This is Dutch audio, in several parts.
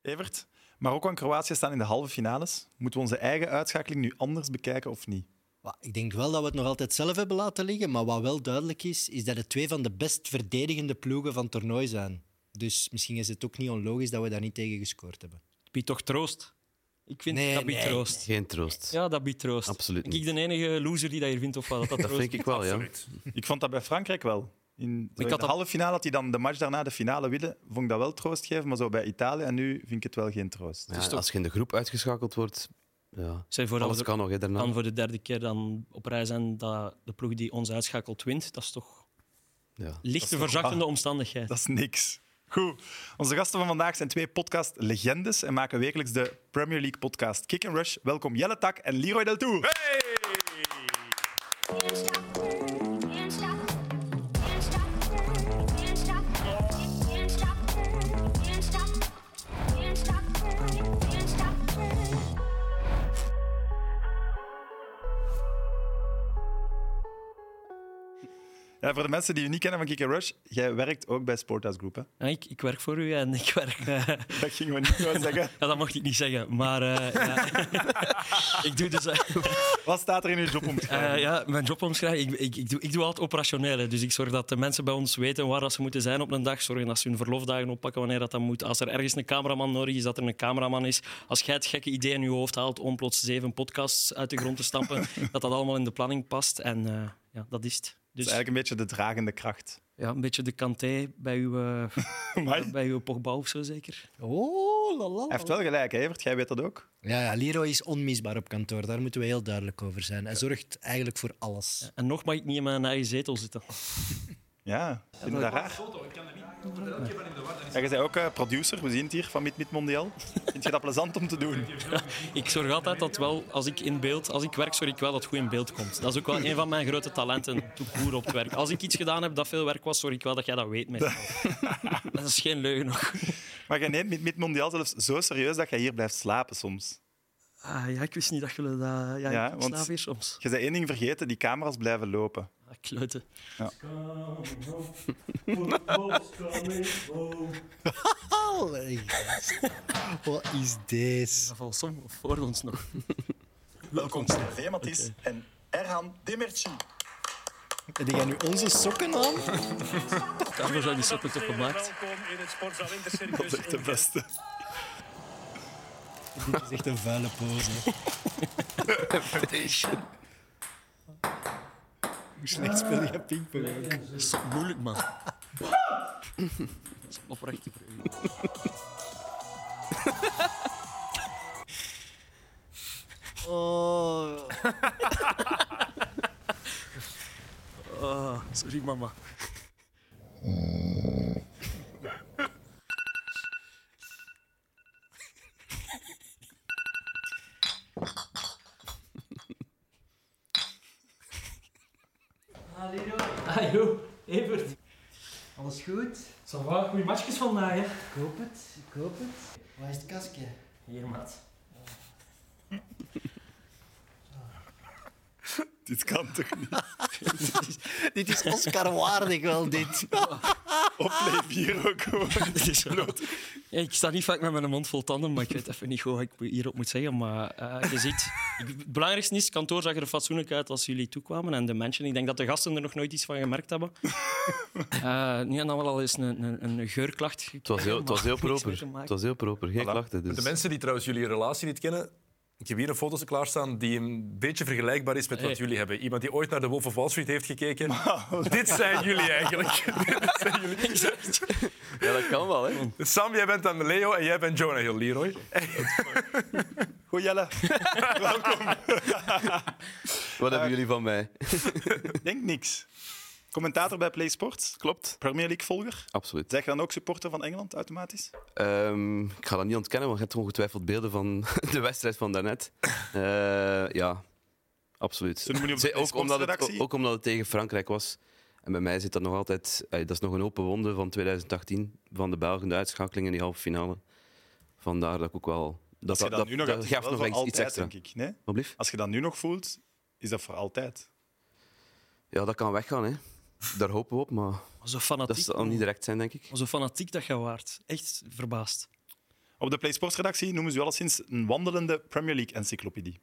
Evert, Marokko en Kroatië staan in de halve finales. Moeten we onze eigen uitschakeling nu anders bekijken of niet? Wel, Ik denk wel dat we het nog altijd zelf hebben laten liggen. Maar wat wel duidelijk is, is dat het twee van de best verdedigende ploegen van het toernooi zijn. Dus misschien is het ook niet onlogisch dat we daar niet tegen gescoord hebben. biedt toch troost? Ik vind Nee, dat biedt nee, troost. Geen troost. Ja, dat biedt troost. Absoluut Ben ik niet. de enige loser die dat hier vindt? Of wat, dat, dat Dat troost vind ik wel, ja. Absoluut. Ik vond dat bij Frankrijk wel. In zo in de had dat- halve finale, dat die dan de match daarna de finale winnen, vond ik dat wel troost geven. Maar zo bij Italië en nu vind ik het wel geen troost. Ja, Als je in de groep uitgeschakeld wordt, ja. Stel je voor dat alles we er- kan nog hè, daarna. dan voor de derde keer dan op rij zijn dat de ploeg die ons uitschakelt wint. Dat is toch Ja. lichte verzachtende omstandigheid. Dat is niks. Goed. Onze gasten van vandaag zijn twee podcast-legendes en maken wekelijks de Premier League podcast Kick and Rush. Welkom Jelle Tak en Leroy Del Toe. Can't stop, can't stop, can't stop, can't stop, can't stop, can't stop, can't stop, can't stop. Ja, voor de mensen die je niet kennen van Kick and Rush, jij werkt ook bij Sporthouse Group. Hè? Ja, ik, ik werk voor u en ik werk... eh, Dat gingen we niet zo zeggen. ja, dat mag ik niet zeggen, maar eh, ja. ik doe dus... eh, Wat staat er in je jobomschrijving? Eh, ja, mijn job omschrijven. Ik, ik, ik, doe, ik doe altijd operationele. Dus ik zorg dat de mensen bij ons weten waar dat ze moeten zijn op een dag. Zorgen dat ze hun verlofdagen oppakken wanneer dat, dat moet. Als er ergens een cameraman nodig is, dat er een cameraman is. Als jij het gekke idee in je hoofd haalt om plots zeven podcasts uit de grond te stampen, dat dat allemaal in de planning past. En eh, ja, dat is het. Dat Dus is eigenlijk een beetje de dragende kracht. ja, een beetje de kanté bij uw, eh, Maar hij bij uw Pogba of zo zeker. Oh, la la. heeft wel gelijk, hè, Evert. Jij weet dat ook. Ja, ja, Leroy is onmisbaar op kantoor. Daar moeten we heel duidelijk over zijn. Hij zorgt eigenlijk voor alles. En nog mag ik niet in mijn eigen zetel zitten. Ja, vind je dat raar? Ja, je bent ook eh, producer, we zien het hier, van Mid Mid Mondial. Vind je dat plezant om te doen? Ik zorg altijd dat wel, als ik in beeld, als ik werk, zorg ik wel dat het goed in beeld komt. Dat is ook wel een van mijn grote talenten, toekoer op het werk. Als ik iets gedaan heb dat veel werk was, zorg ik wel dat jij dat weet. meestal. Dat is geen leugen nog. Maar je neemt Mid Mid Mondial zelfs zo serieus dat je hier blijft slapen soms. Ah, ja, ik wist niet dat jullie dat... Ja, Ja, ik want- slaap hier soms. Je zei één ding vergeten, die camera's blijven lopen. Ah, kluiten. Allee. Wat is dit? Dat valt soms voor ons nog. Welkom, Steve Mathis en Erhan Demirci. Heb jij nu onze sokken aan? Daarvoor zijn die sokken toch gemaakt. Welkom in het Sportzaal Dat is echt Intercircus. de beste. Dat is echt een vuile pose. Hoe slecht speel je pingpong? ook? Dat is zo moeilijk, man. Dat is oprecht. Oh. Ah, sorry, mama. Ah, joh, Evert. Alles goed? Ça va? Goeie matchjes vandaag, hè? Ik hoop het, ik hoop het. Waar is het kastje? Hier, maat. Dit kan toch niet? Dit is Oscar waardig wel, dit. Opleef hier ook gewoon. Dit is wel- Ja, ik sta niet vaak met mijn mond vol tanden, maar ik weet even niet goed wat ik hierop moet zeggen. Maar eh, je ziet, ik- het belangrijkste is, het kantoor zag er fatsoenlijk uit als jullie toekwamen. En de mensen, ik denk dat de gasten er nog nooit iets van gemerkt hebben. Eh nu hadden we al eens een, een, een geurklacht. Het was heel, het was heel proper. Het was heel proper. Geen klachten. Voor de Dus. mensen die trouwens jullie relatie niet kennen, ik heb hier een foto klaarstaan die een beetje vergelijkbaar is met wat Hey. jullie hebben. Iemand die ooit naar de Wolf of Wall Street heeft gekeken. Dit zijn jullie eigenlijk. Dit zijn jullie. Ja, dat kan wel, hè? Sam, jij bent dan Leo en jij bent Jonah Hill, Leroy. Goed, Jelle. Wat hebben jullie van mij? Denk niks. Commentator bij Play Sports. Klopt. Premier League-volger. Absoluut. Zeg je dan ook supporter van Engeland, automatisch? Ehm, ik ga dat niet ontkennen, want je hebt ongetwijfeld beelden van de wedstrijd van daarnet. Eh, ja, absoluut. Zullen we niet op de Zij- ook, omdat het, sportsredactie? ook omdat het tegen Frankrijk was. En bij mij zit dat nog altijd... eh, dat is nog een open wonde van 2018, van de Belgen, de uitschakeling in die halve finale. Vandaar dat ik ook wel... Dat, Als je dat, dat, dat, nu nog dat hebt, is geeft wel nog voor eens iets altijd, extra. Denk ik. Nee? Wat blieft? Als je dat nu nog voelt, is dat voor altijd. Ja, dat kan weggaan, hè. Daar hopen we op, maar Zo dat fanatiek, zal niet direct zijn, denk ik. zo fanatiek dat je waart. Echt verbaasd. Op de PlaySports-redactie noemen ze u alleszins een wandelende Premier League-encyclopedie.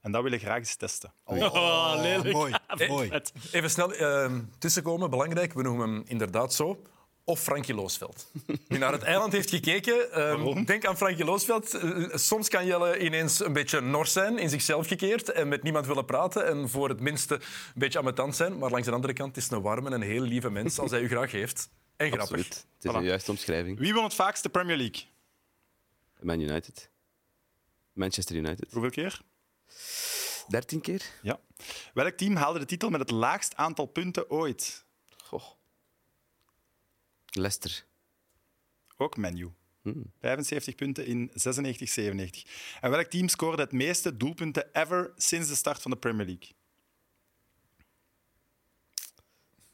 En dat wil ik graag eens testen. Oh, lelijk. Mooi, mooi. Vet. Even snel eh, tussenkomen, belangrijk. We noemen hem inderdaad zo. Of Frankie Loosveld. Wie naar het eiland heeft gekeken, eh, denk aan Frankie Loosveld. Eh, Soms kan Jelle ineens een beetje nors zijn, in zichzelf gekeerd en met niemand willen praten en voor het minste een beetje ambetant zijn. Maar langs de andere kant het is een warme en heel lieve mens als hij u graag heeft. En grappig. Absoluut. Het is een juiste omschrijving. Wie won het vaakst de Premier League? Man United. Manchester United. Hoeveel keer? 13 keer? Ja. Welk team haalde de titel met het laagst aantal punten ooit? Goh. Leicester. Ook menu. 75 punten in 96-97. En welk team scoorde het meeste doelpunten ever sinds de start van de Premier League?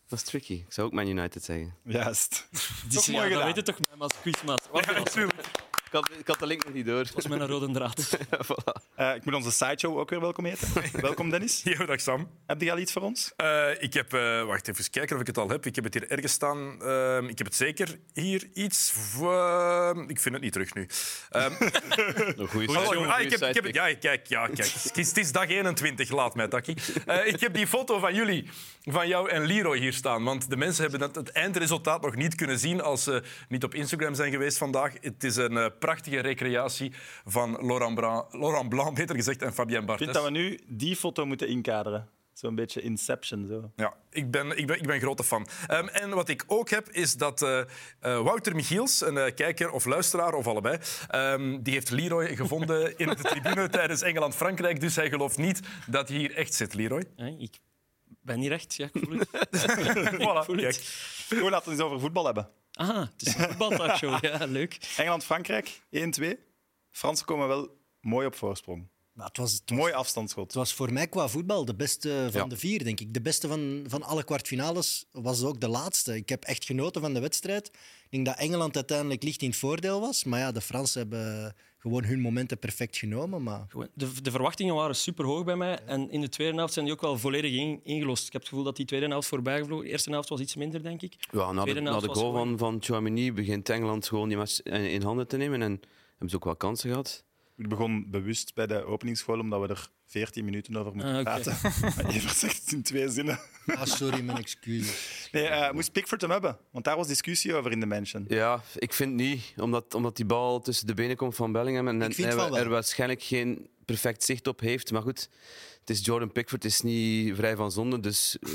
Dat is tricky. Ik zou ook Man United zeggen. Juist. Die mooi ja, dat gedaan. weet je toch bij als quizmaster. Wacht, dat was Ik had, ik had de link nog niet door. met een rode draad. Eh, ik moet onze sideshow ook weer welkom heten. welkom, Dennis. Ja, dag Sam. Heb je al iets voor ons? Eh, ik heb, eh, wacht even kijken of ik het al heb. Ik heb het hier ergens staan. Ehm, ik heb het zeker hier iets. voor- ik vind het niet terug nu. Ehm, Een goede Oh, ah, ik heb, ik heb het, ja, kijk, ja, kijk. Het is, het is dag 21, laat mij, Taki. Eh, ik heb die foto van jullie, van jou en Leroy hier staan. Want de mensen hebben dat, het eindresultaat nog niet kunnen zien als ze niet op Instagram zijn geweest vandaag. Het is een eh, prachtige recreatie van Laurent, Bra- Laurent Blanc, beter gezegd, en Fabien Ik Barthes. vind dat we nu die foto moeten inkaderen. Zo'n beetje Inception. Zo. Ja, ik ben, ik ben, ik ben grote fan. Ehm, en wat ik ook heb, is dat eh, eh, Wouter Michiels, een eh, kijker of luisteraar of allebei, ehm, die heeft Leroy gevonden in de tribune tijdens Engeland-Frankrijk. Dus hij gelooft niet dat hij hier echt zit, Leroy. Hè, ik ben niet recht. Ja, ik voel het. Voilà, voel het. kijk. Goed, laten we het eens over voetbal hebben. Ah, het is een voetbaltalkshow. Ja, leuk. Engeland-Frankrijk, 1-2. Fransen komen wel mooi op voorsprong. Maar het was, het, was, Mooi het afstandsschot. was voor mij qua voetbal de beste van Ja. de vier, denk ik. De beste van, van alle kwartfinales was ook de laatste. Ik heb echt genoten van de wedstrijd. Ik denk dat Engeland uiteindelijk licht in het voordeel was. Maar ja, de Fransen hebben gewoon hun momenten perfect genomen. Maar Gewoon, De, de verwachtingen waren super hoog bij mij. En in de tweede helft zijn die ook wel volledig in- ingelost. Ik heb het gevoel dat die tweede helft voorbij gevlogen. De eerste helft was iets minder, denk ik. Ja, na de, Tweede na helft de was goal gewoon- van, van Chouamini begint Engeland gewoon die match eh, in, in handen te nemen. En hebben ze ook wel kansen gehad. Ik begon bewust bij de openingsgoal, omdat we er 14 minuten over moeten Ah, oké. praten. Maar Evert zegt het in twee zinnen. ah, sorry, mijn excuses. Nee, eh, moest Pickford hem hebben? Want daar was discussie over in de mansion. Ja, ik vind niet. Omdat, omdat die bal tussen de benen komt van Bellingham. En, en vind hij van wel. er waarschijnlijk geen perfect zicht op heeft. Maar goed, het is Jordan Pickford. Het is niet vrij van zonde. Dus eh,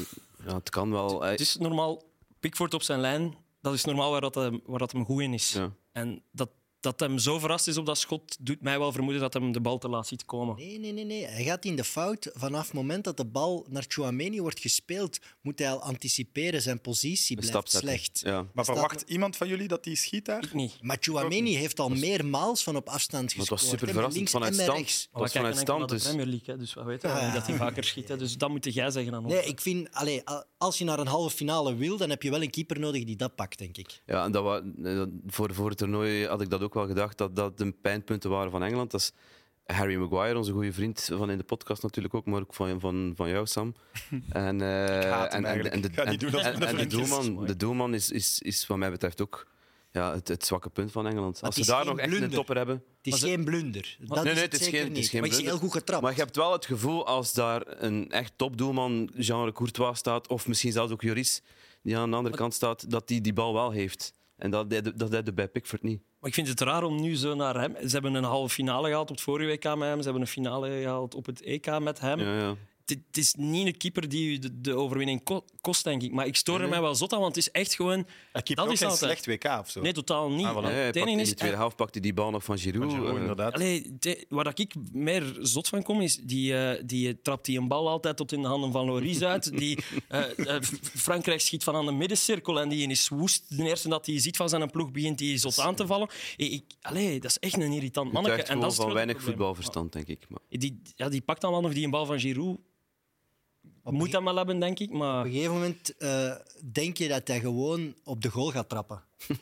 ja, het kan wel. eh, Hij- Het is normaal, Pickford op zijn lijn, dat is normaal waar dat, hem- waar dat hem goed in is. Ja. En dat, dat hem zo verrast is op dat schot, doet mij wel vermoeden dat hem de bal te laat ziet komen. Nee, nee, nee, nee. Hij gaat in de fout. Vanaf het moment dat de bal naar Chouameni wordt gespeeld, moet hij al anticiperen. Zijn positie een blijft stap zetten. slecht. Ja. Maar verwacht iemand van jullie dat die schiet daar? Ik niet. Maar Chouameni heeft al meermaals van op afstand Maar het gescoord. was super hè, verrassend links vanuit en met stand. rechts. Het was vanuit stand. de Dus Premier League, hè, dus we weten wel niet dat hij vaker schiet. Hè, dus dat moet jij zeggen aan ons. Nee, ik vind, allee, a- als je naar een halve finale wil, dan heb je wel een keeper nodig die dat pakt, denk ik. Ja, en dat wa- eh, dat- voor, voor het toernooi had ik dat ook wel gedacht, dat dat de pijnpunten waren van Engeland. Dat is Harry Maguire, onze goede vriend van in de podcast natuurlijk ook, maar ook van, van, van jou, Sam. En, eh, haat hem en, en, eigenlijk. en, de, Ik ga niet en- doen als en- mijn en de vriend is. doelman, de doelman is, is, is wat mij betreft ook ja, het, het zwakke punt van Engeland. Als het ze is daar geen nog echt een blunder. topper hebben... Het is geen blunder. Dat nee, is nee, het, het is zeker geen- het is niet. geen maar je is heel blunder. goed getrapt. Maar je hebt wel het gevoel als daar een echt topdoelman, genre Courtois, staat, of misschien zelfs ook Joris, die aan de andere kant staat, dat die die bal wel heeft. En dat deed dat deed hij bij Pickford niet. Maar ik vind het raar om nu zo naar hem... Ze hebben een halve finale gehaald op het vorige WK met hem. Ze hebben een finale gehaald op het EK met hem. Ja, ja. Het het is niet een keeper die u de, de overwinning ko- kost, denk ik. Maar ik stoor er mij wel zot aan, want het is echt gewoon... Hij keept dat ook is geen altijd- slecht WK of zo. Nee, totaal niet. Ah, voilà. En Nee, hij het pakte enige in is- de tweede helft pakte hij die bal nog van Giroud. Giroud, eh, inderdaad. Allee, te- waar ik meer zot van kom, is die, eh, die trapt die een bal altijd tot in de handen van Loris uit. Die, eh, eh, F- Frankrijk schiet van aan de middencirkel en die is woest. De eerste dat hij ziet van zijn ploeg begint die zot aan te vallen. Ik, ik- allee, dat is echt een irritant Het manneke. echt En dat gewoon is het van grote weinig probleem. voetbalverstand, denk ik. Maar Die, ja, die pakt dan wel nog die een bal van Giroud. moet dat wel hebben, denk ik. Maar Op een gegeven moment eh, denk je dat hij gewoon op de goal gaat trappen. En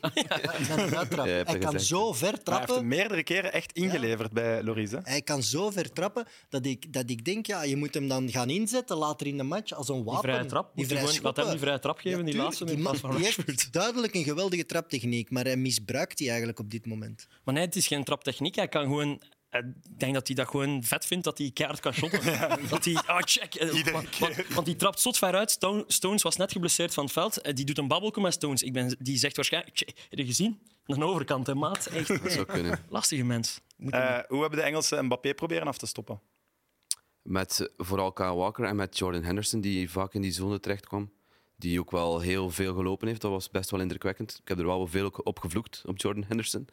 dan gaat trappen. Ja, je hebt hij het kan gezegd. zo ver Maar hij heeft trappen. hem meerdere keren echt ingeleverd bij Loris. Hè? Hij kan zo ver trappen dat ik, dat ik denk, ja, je moet hem dan gaan inzetten later in de match als een die wapen. vrije trap, moet je gewoon, laat schoppen. hem die vrije trap eh, Ja, geven, die tuurlijk, laatste. die in man- plaats van die Rashford. heeft duidelijk een geweldige traptechniek, maar hij misbruikt die eigenlijk op dit moment. Maar nee, het is geen traptechniek. Hij kan gewoon... Ik denk dat hij dat gewoon vet vindt, dat hij keihard kan shotten. Dat hij... Ah, check. eh, Iedere want, keer. want- want die trapt zot ver uit. Stone- Stones was net geblesseerd van het veld. Eh, Die doet een babbelke met Stones. Ik ben, die zegt waarschijnlijk... "Tje, Heb je gezien? Aan de overkant, hè, maat. Echt, Dat nee. zou kunnen. Lastige mens. Moet hem- Eh, hoe hebben de Engelsen Mbappé proberen af te stoppen? Met eh, vooral Kyle Walker en met Jordan Henderson, die vaak in die zone terecht kwam. Die ook wel heel veel gelopen heeft. Dat was best wel indrukwekkend. Ik heb er wel veel op gevloekt, op Jordan Henderson.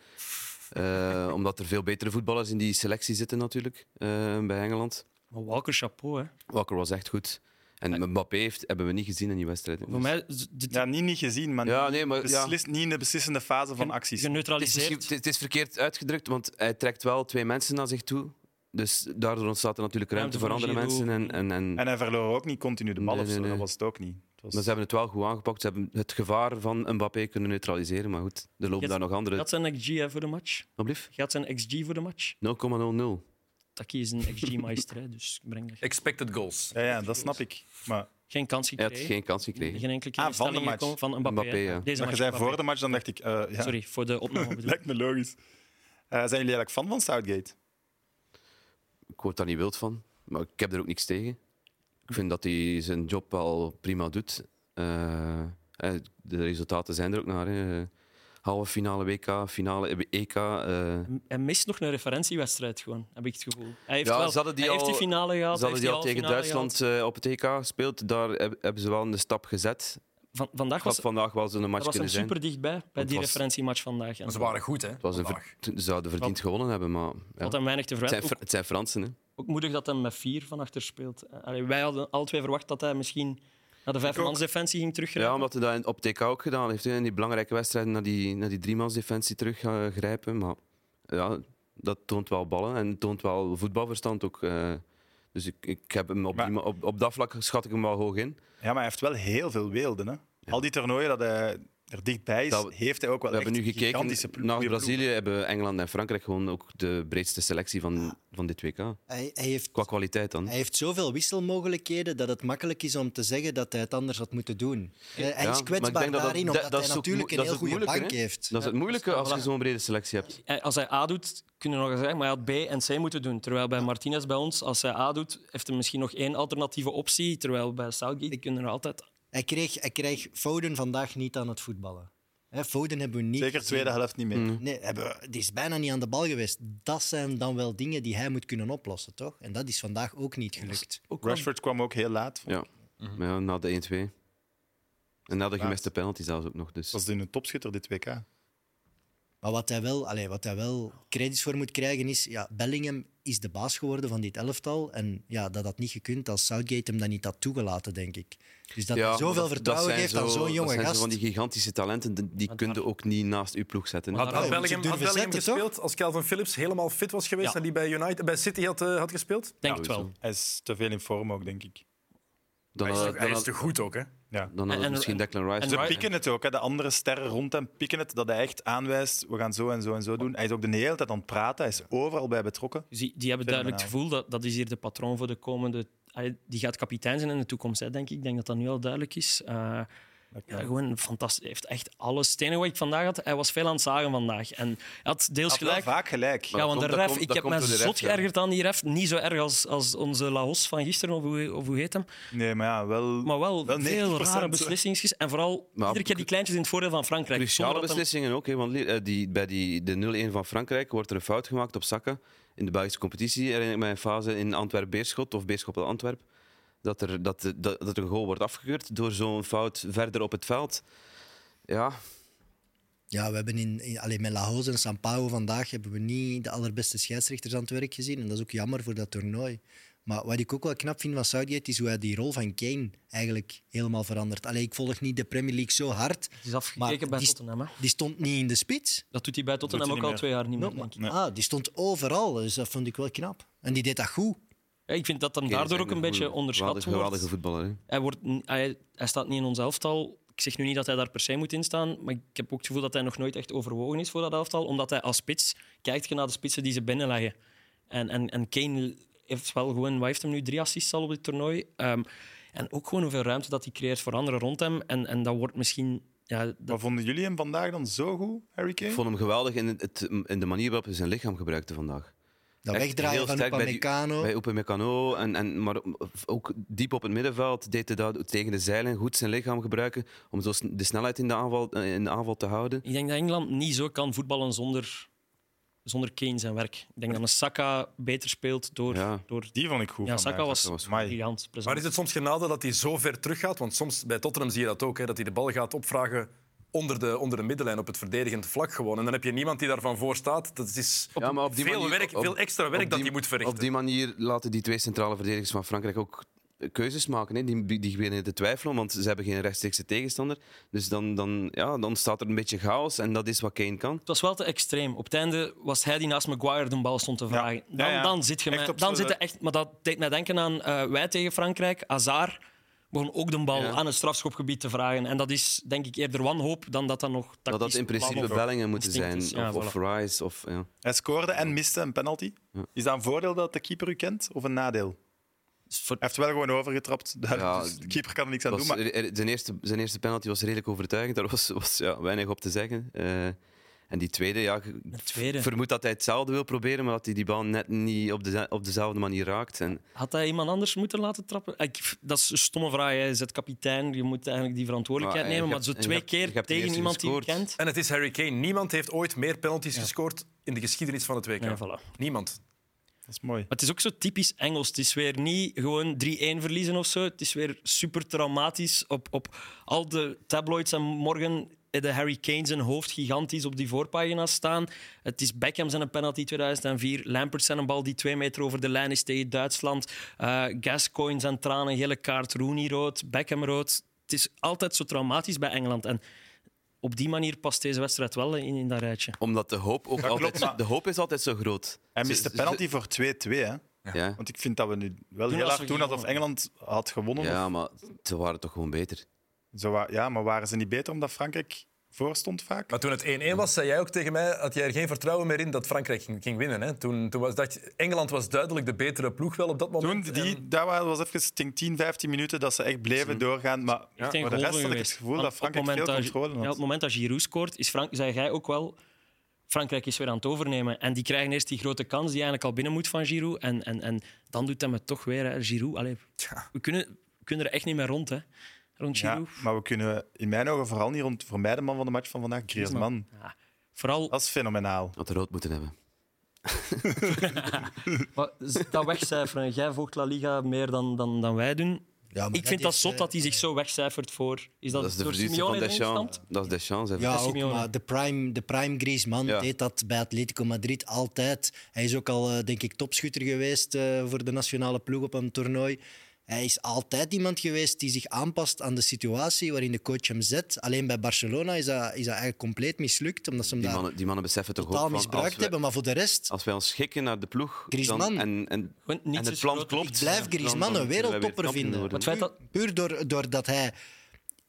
Eh, omdat er veel betere voetballers in die selectie zitten natuurlijk, eh, bij Engeland. Maar Walker, chapeau, hè. Walker was echt goed. En Mbappé heeft, hebben we niet gezien in die wedstrijd. Voor mij... z- dit- Ja, niet, niet gezien, maar, Ja, nee, maar ja. beslist, niet in de beslissende fase van acties. Het is, misschien- Geneutraliseerd. het is verkeerd uitgedrukt, want hij trekt wel twee mensen naar zich toe. Dus daardoor ontstaat er natuurlijk ruimte, Ruimte voor voor andere Giroud. mensen. En, en, en, En hij verloor ook niet continu de bal Nee, of zo. nee, Dat nee. was het ook niet. Het was- Maar ze hebben het wel goed aangepakt. Ze hebben het gevaar van Mbappé kunnen neutraliseren. Maar goed, er lopen Yes. daar nog andere. Gaat zijn XG hè, voor de match? Alsjeblieft. Gaat zijn XG voor de match? 0,00. Taki is een XG-meister, hè, dus ik breng dat. Expected goals. ja, ja, dat snap ik. Maar, Geen kans Hij had gekregen. geen kans gekregen. Geen enkele Ah, van de instelling match. gekomen van Mbappé. Mbappé, hè. ja. Deze maar je match zei Mbappé. voor de match, dan dacht ik... eh, ja. Sorry, voor de opname bedoel ik. Lijkt me logisch. Eh, zijn jullie eigenlijk fan van Southgate? Ik word daar niet wild van. Maar ik heb er ook niks tegen. Ik vind dat hij zijn job wel prima doet. Eh, eh, de resultaten zijn er ook naar. hè. Halve finale WK, finale EK. eh Hij mist nog een referentiewedstrijd gewoon, heb ik het gevoel. Hij heeft, Ja, wel, ze hadden die hij heeft al- die finale gehad. Ze hadden heeft die al tegen halffinale Duitsland eh, op het EK gespeeld. Daar heb- hebben ze wel een stap gezet. gehad. Van- vandaag Ik was, had vandaag wel zo'n daar match was hem kunnen zijn. super dichtbij, bij het die was- referentiematch vandaag. En Maar ze waren goed, hè? Het was een ver- vandaag. Ze zouden verdiend gewonnen hebben, maar ja. Had hem weinig te het, zijn, verwijten. Fr- Ook, het zijn Fransen. Hè. ook moedig dat hij met vier van achter speelt. Eh, allee, wij hadden alle twee verwacht dat hij misschien naar de vijfmansdefensie ging teruggrijpen. Ja, omdat hij dat in- op het EK ook gedaan heeft. hè. In die belangrijke wedstrijden naar die, naar die driemansdefensie teruggrijpen. Maar ja, dat toont wel ballen en toont wel voetbalverstand ook. eh. dus ik, ik heb hem op, die Maar- ma- op, op dat vlak schat ik hem wel hoog in. Ja, maar hij heeft wel heel veel weelden. Hè? Al die toernooien dat hij er dichtbij is, Dat- heeft hij ook wel We hebben echt nu gigantische gekeken ploeg- naar goeie Brazilië. Hebben Engeland en Frankrijk gewoon ook de breedste selectie van, van dit WK. Hij, hij, heeft, Qua kwaliteit dan. hij heeft zoveel wisselmogelijkheden dat het makkelijk is om te zeggen dat hij het anders had moeten doen. Eh, hij Ja, maar is ik denk kwetsbaar dat dat- daarin, dat- omdat dat is hij ook natuurlijk moe- een dat heel is het goede moeilijke, bank hè? heeft. Dat is het moeilijke als je zo'n brede selectie hebt. Hij- Eh, Als hij A doet, kunnen we nog eens zeggen, maar hij had B en C moeten doen. Terwijl bij Martinez, bij ons, als hij A doet, heeft hij misschien nog één alternatieve optie. Terwijl bij Southgate kunnen er altijd... Hij kreeg, hij kreeg Foden vandaag niet aan het voetballen. Hè, Foden hebben we niet. Zeker gezien. tweede helft niet meer. Mm. Nee, hebben we- die is bijna niet aan de bal geweest. Dat zijn dan wel dingen die hij moet kunnen oplossen, toch? En dat is vandaag ook niet gelukt. Rashford kwam ook heel laat. Ja. Mhm. Maar ja, na de 1-2. En na de gemiste penalty zelfs ook nog. Dus. Dat was een topschutter dit WK. Maar wat hij wel, allee, wat hij wel credits voor moet krijgen is... Ja, Bellingham is de baas geworden van dit elftal. En ja, dat had niet gekund als Southgate hem dat niet had toegelaten, denk ik. Dus dat Ja, hij zoveel dat- dat vertrouwen zijn geeft aan zo- zo'n dat jonge zijn zo gast. van die gigantische talenten, die- die kun je ook niet naast uw ploeg zetten. hè. Had, had moet je Belgium, had durven Belgium zetten, toch? gespeeld als Calvin Phillips helemaal fit was geweest Ja. en die bij, United, bij City had, eh, had gespeeld? Denk het wel. Hij is te veel in vorm ook, denk ik. Dan Hij is, had, toch- hij dan is had, te goed ook, hè? Ja. dan had het En- misschien en- Declan Rice. En ze pikken het ook. Hè. De andere sterren rond hem pikken het. Dat hij echt aanwijst, we gaan zo en zo en zo doen. Hij is ook de hele tijd aan het praten. Hij is overal bij betrokken. Dus die, die hebben duidelijk het Fenomenaal. gevoel dat dat is hier de patroon voor de komende. Allee, Die gaat kapitein zijn in de toekomst, hè, denk ik. Ik denk dat dat nu al duidelijk is. Eh, ja, gewoon fantastisch. Hij heeft echt alle stenen wat ik vandaag had. Hij was veel aan het zagen vandaag. En hij had deels Hij had wel gelijk. vaak gelijk. Ja, want komt- de Ah, dat ref, komt- ik dat heb komt me door de ref, zot ja. geërgerd aan die ref. Niet zo erg als, als onze Laos van gisteren, of hoe, of hoe heet hem. Nee, maar ja, wel... Maar wel, Wel veel 90% rare beslissingen. En vooral Maar iedere keer die kleintjes in het voordeel van Frankrijk. Cruciale Zonder dat hem- beslissingen ook. Hè, want eh, die, bij die, de 0-1 van Frankrijk wordt er een fout gemaakt op Saka. In de Belgische competitie herinner ik mij een fase in Antwerp-Beerschot of Beerschot-Antwerp. Dat er, dat, de- dat, dat er een goal wordt afgekeurd door zo'n fout verder op het veld. Ja, Ja, we hebben in, in alleen met Laos en San Paulo vandaag hebben we niet de allerbeste scheidsrechters aan het werk gezien. En dat is ook jammer voor dat toernooi. Maar wat ik ook wel knap vind van Southgate is hoe hij die rol van Kane eigenlijk helemaal verandert. Allee, ik volg niet de Premier League zo hard. Het is afgekeken Maar bij die- Tottenham. hè. Die stond niet in de spits. Dat doet hij bij Tottenham hij ook niet al meer. twee jaar niet meer. No, denk ik. maar- ah, die stond overal, dus dat vond ik wel knap. En die deed dat goed. Ja, ik vind dat dan Kane is daardoor echt ook een beetje goeie- onderschat geweldige, wordt. geweldige voetballer. Hè? Hij, wordt, n- hij, hij staat niet in ons elftal. Ik zeg nu niet dat hij daar per se moet in staan, maar ik heb ook het gevoel dat hij nog nooit echt overwogen is voor dat elftal, omdat hij als spits kijkt je naar de spitsen die ze binnenleggen. En, en, en Kane heeft wel gewoon, wat heeft hem nu, drie assists al op dit toernooi. Ehm, en ook gewoon hoeveel ruimte dat hij creëert voor anderen rond hem. En, en dat wordt misschien... Ja, dat, Maar vonden jullie hem vandaag dan zo goed, Harry Kane? Ik vond hem geweldig in, het, in de manier waarop hij zijn lichaam gebruikte vandaag. Dat Echt wegdraaien heel van sterk bij die- Upamecano. Bij Upamecano, en, en, maar ook diep op het middenveld deed hij dat tegen de zeilen goed zijn lichaam gebruiken om zo sn- de snelheid in de aanval, eh, in de aanval te houden. ik denk dat Engeland niet zo kan voetballen zonder, zonder Kane zijn werk. Ik denk dat een Saka beter speelt door... Ja. door Die vond ik goed. ja vandaag. Saka was, Saka was was goed. briljant. present. Maar is het soms genade dat hij zo ver teruggaat? Want soms bij Tottenham zie je dat ook, hè, dat hij de bal gaat opvragen onder de, onder de middenlijn, op het verdedigend vlak gewoon. En dan heb je niemand die daarvan voor staat. Dat is Ja, maar op die veel, manier- werk, op- veel extra werk op dat die- hij moet verrichten. Op die manier laten die twee centrale verdedigers van Frankrijk ook keuzes maken. Hè? Die, die- die beginnen te twijfelen, want ze hebben geen rechtstreekse tegenstander. Dus dan, dan, ja, dan staat er een beetje chaos en dat is wat Kane kan. Het was wel te extreem. Op het einde was hij die naast Maguire de bal stond te vragen. Dan, Ja, ja. dan zit je Echt mij, op dan z'n- zit je echt. Maar dat deed mij denken aan eh, wij tegen Frankrijk. Hazard begon ook de bal Ja. aan het strafschopgebied te vragen. En dat is denk ik eerder wanhoop dan dat dat nog tactisch Dat dat in principe plan- Bellingen moeten zijn. Instinct Of, is, ja, of Rice. Of, ja. Hij scoorde en miste een penalty. Is dat een voordeel dat de keeper u kent of een nadeel? Hij is voor- heeft wel gewoon overgetrapt. Daar, Ja, dus de keeper kan er niks aan Was- doen. Maar er- er- zijn, eerste, zijn eerste penalty was redelijk overtuigend. Daar was, was ja, weinig op te zeggen. Eh, en die tweede, ja, ik tweede. vermoed dat hij hetzelfde wil proberen, maar dat hij die bal net niet op, de, op dezelfde manier raakt. En Had hij iemand anders moeten laten trappen? Ah, Ik, dat is een stomme vraag. Hij is het kapitein. Je moet eigenlijk die verantwoordelijkheid Maar, eh, nemen. je Maar zo twee hebt- je hebt- keer je hebt de tegen eerste iemand die je gescoord. kent. En het is Harry Kane. Niemand heeft ooit meer penalties gescoord in de geschiedenis van het WK. Ja, voilà. Niemand. dat is mooi. Maar het is ook zo typisch Engels. Het is weer niet gewoon 3-1 verliezen of zo. Het is weer super traumatisch. Op, op al de tabloids en morgen eh, de Harry Kane zijn hoofd gigantisch op die voorpagina's staan. Het is Beckham zijn een penalty 2004. Lampert zijn een bal die twee meter over de lijn is tegen Duitsland. Eh Gascoigne zijn tranen, gele kaart. Rooney rood, Beckham rood. Het is altijd zo traumatisch bij Engeland. En op die manier past deze wedstrijd wel in, in dat rijtje. omdat de hoop, ook klopt, altijd, maar- de hoop is altijd zo groot. Hij Ze- mist de ze- penalty voor 2-2. hè. Ja. Want ik vind dat we nu wel Toen heel was hard er doen alsof gewonnen. Engeland had gewonnen. of- ja, maar ze waren toch gewoon beter. Zo wa- ja, maar waren ze niet beter omdat Frankrijk voor stond vaak? Maar toen het 1-1 was, zei jij ook tegen mij, had jij er geen vertrouwen meer in dat Frankrijk ging, ging winnen. Hè? Toen, toen was, dacht je, Engeland was duidelijk de betere ploeg wel op dat Toen, moment. En- die, dat wa- was even ik denk, 10, 15 minuten dat ze echt bleven doorgaan. Maar Echt een voor de golven rest had ik het geweest. gevoel Want dat op Frankrijk het veel moment dat- controle ja, op had. het moment dat Giroud scoort, is Frank, zei jij ook wel... Frankrijk is weer aan het overnemen. En die krijgen eerst die grote kans die eigenlijk al binnen moet van Giroud. En, en, en dan doet hij het toch weer. Hè. Giroud, allee, we kunnen, we kunnen er echt niet meer rond, hè. Rond Ja, Giroud. maar we kunnen in mijn ogen vooral niet rond voor mij de man van de match van vandaag, Griezmann. Ja. Vooral Dat is fenomenaal. Had rood moeten hebben. wat- dat wegcijferen. Jij volgt La Liga meer dan, dan, dan wij doen. Ja, maar Ik vind dat is, zot eh, dat hij zich zo wegcijfert voor... Is dat, Dat is de door verdienste van Simeone erin Deschamps. gestampt? Dat is Deschamps. hè. Ja, Dat is ook, Simeone. maar de prime, de prime Griezmann Ja. deed dat bij Atletico Madrid altijd. Hij is ook al, eh, denk ik, topschutter geweest eh, voor de nationale ploeg op een toernooi. Hij is altijd iemand geweest die zich aanpast aan de situatie waarin de coach hem zet. Alleen bij Barcelona is dat, is dat eigenlijk compleet mislukt, omdat ze hem Die, daar mannen, die mannen beseffen toch totaal ook van, als, misbruikt wij, hebben. Maar voor de rest, als wij ons schikken naar de ploeg Griezmann. dan, en, en, Gewoon en niets het is plan groot. klopt... ik blijf dan- Griezmann dan een zullen wij weer wereldtopper kampioen vinden. worden. Maar het feit dat- Puur- Puur door, doordat hij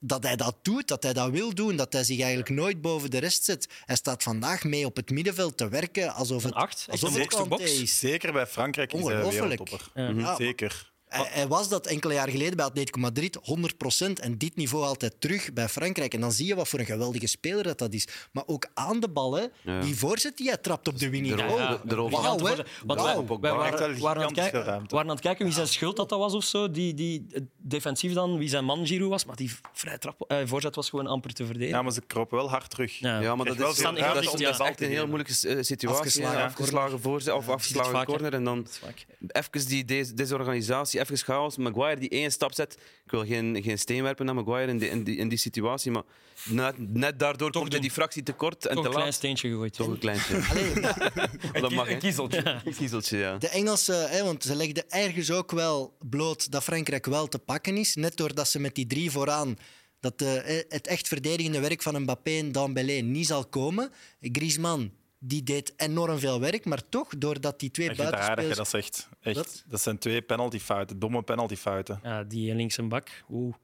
dat hij dat doet, dat hij dat wil doen, dat hij zich eigenlijk nooit boven de rest zet. Hij staat vandaag mee op het middenveld te werken alsof het, Een acht, echt alsof een het box-to-box. Kanté is. Zeker bij Frankrijk is hij Ongelooflijk. wereldtopper. Ja. Mhm. Ja, maar- Zeker. Hij, hij was dat enkele jaar geleden bij Atletico Madrid, 100%. En dit niveau altijd terug bij Frankrijk. En dan zie je wat voor een geweldige speler dat, dat is. Maar ook aan de bal, hè. Ja. die voorzet die hij trapt op de winning. De rol- goal. de- de rol van- Wauw, hè. Want wij- Wauw. Van Pogba. wij Echt wel waren, waren, aan het gigantisch kijken, veel ruimte. waren aan het kijken wie zijn schuld dat dat was of zo. Die, die, eh, defensief dan, wie zijn man Giroud was. Maar die vrij trap, eh, voorzet was gewoon amper te verdedigen. Ja, maar ze kropen wel hard terug. Ja. Ja, maar Krijg wel dat is, veel dat is dus ruimte om de bal echt te een heel winnen. moeilijke eh, situatie. Afgeslagen ja, corner. afgeslagen voorzet of afgeslagen vaker. corner. En dan vaak. even die des- desorganisatie, even chaos. Maguire die één stap zet. Ik wil geen, geen steen werpen naar Maguire in die, in die, in die situatie. Maar net, net daardoor komt hij doen. die fractie tekort en Toch te een klein laat. steentje gegooid. Toch een kleintje. Allee, maar- dat kie- mag, hè. een kiezeltje. Een kiezeltje, ja. De Engelsen, hè, want ze legden ergens ook wel bloot dat Frankrijk wel te pakken is. Net doordat ze met die drie vooraan dat eh, het echt verdedigende werk van Mbappé en Dembélé niet zal komen. Griezmann die deed enorm veel werk, maar toch, doordat die twee Ik vind het raar dat je buitenspelers... dat zegt. Echt. Wat? Dat zijn twee penaltyfouten, domme penaltyfouten. Ja, die links en bak. Oeh.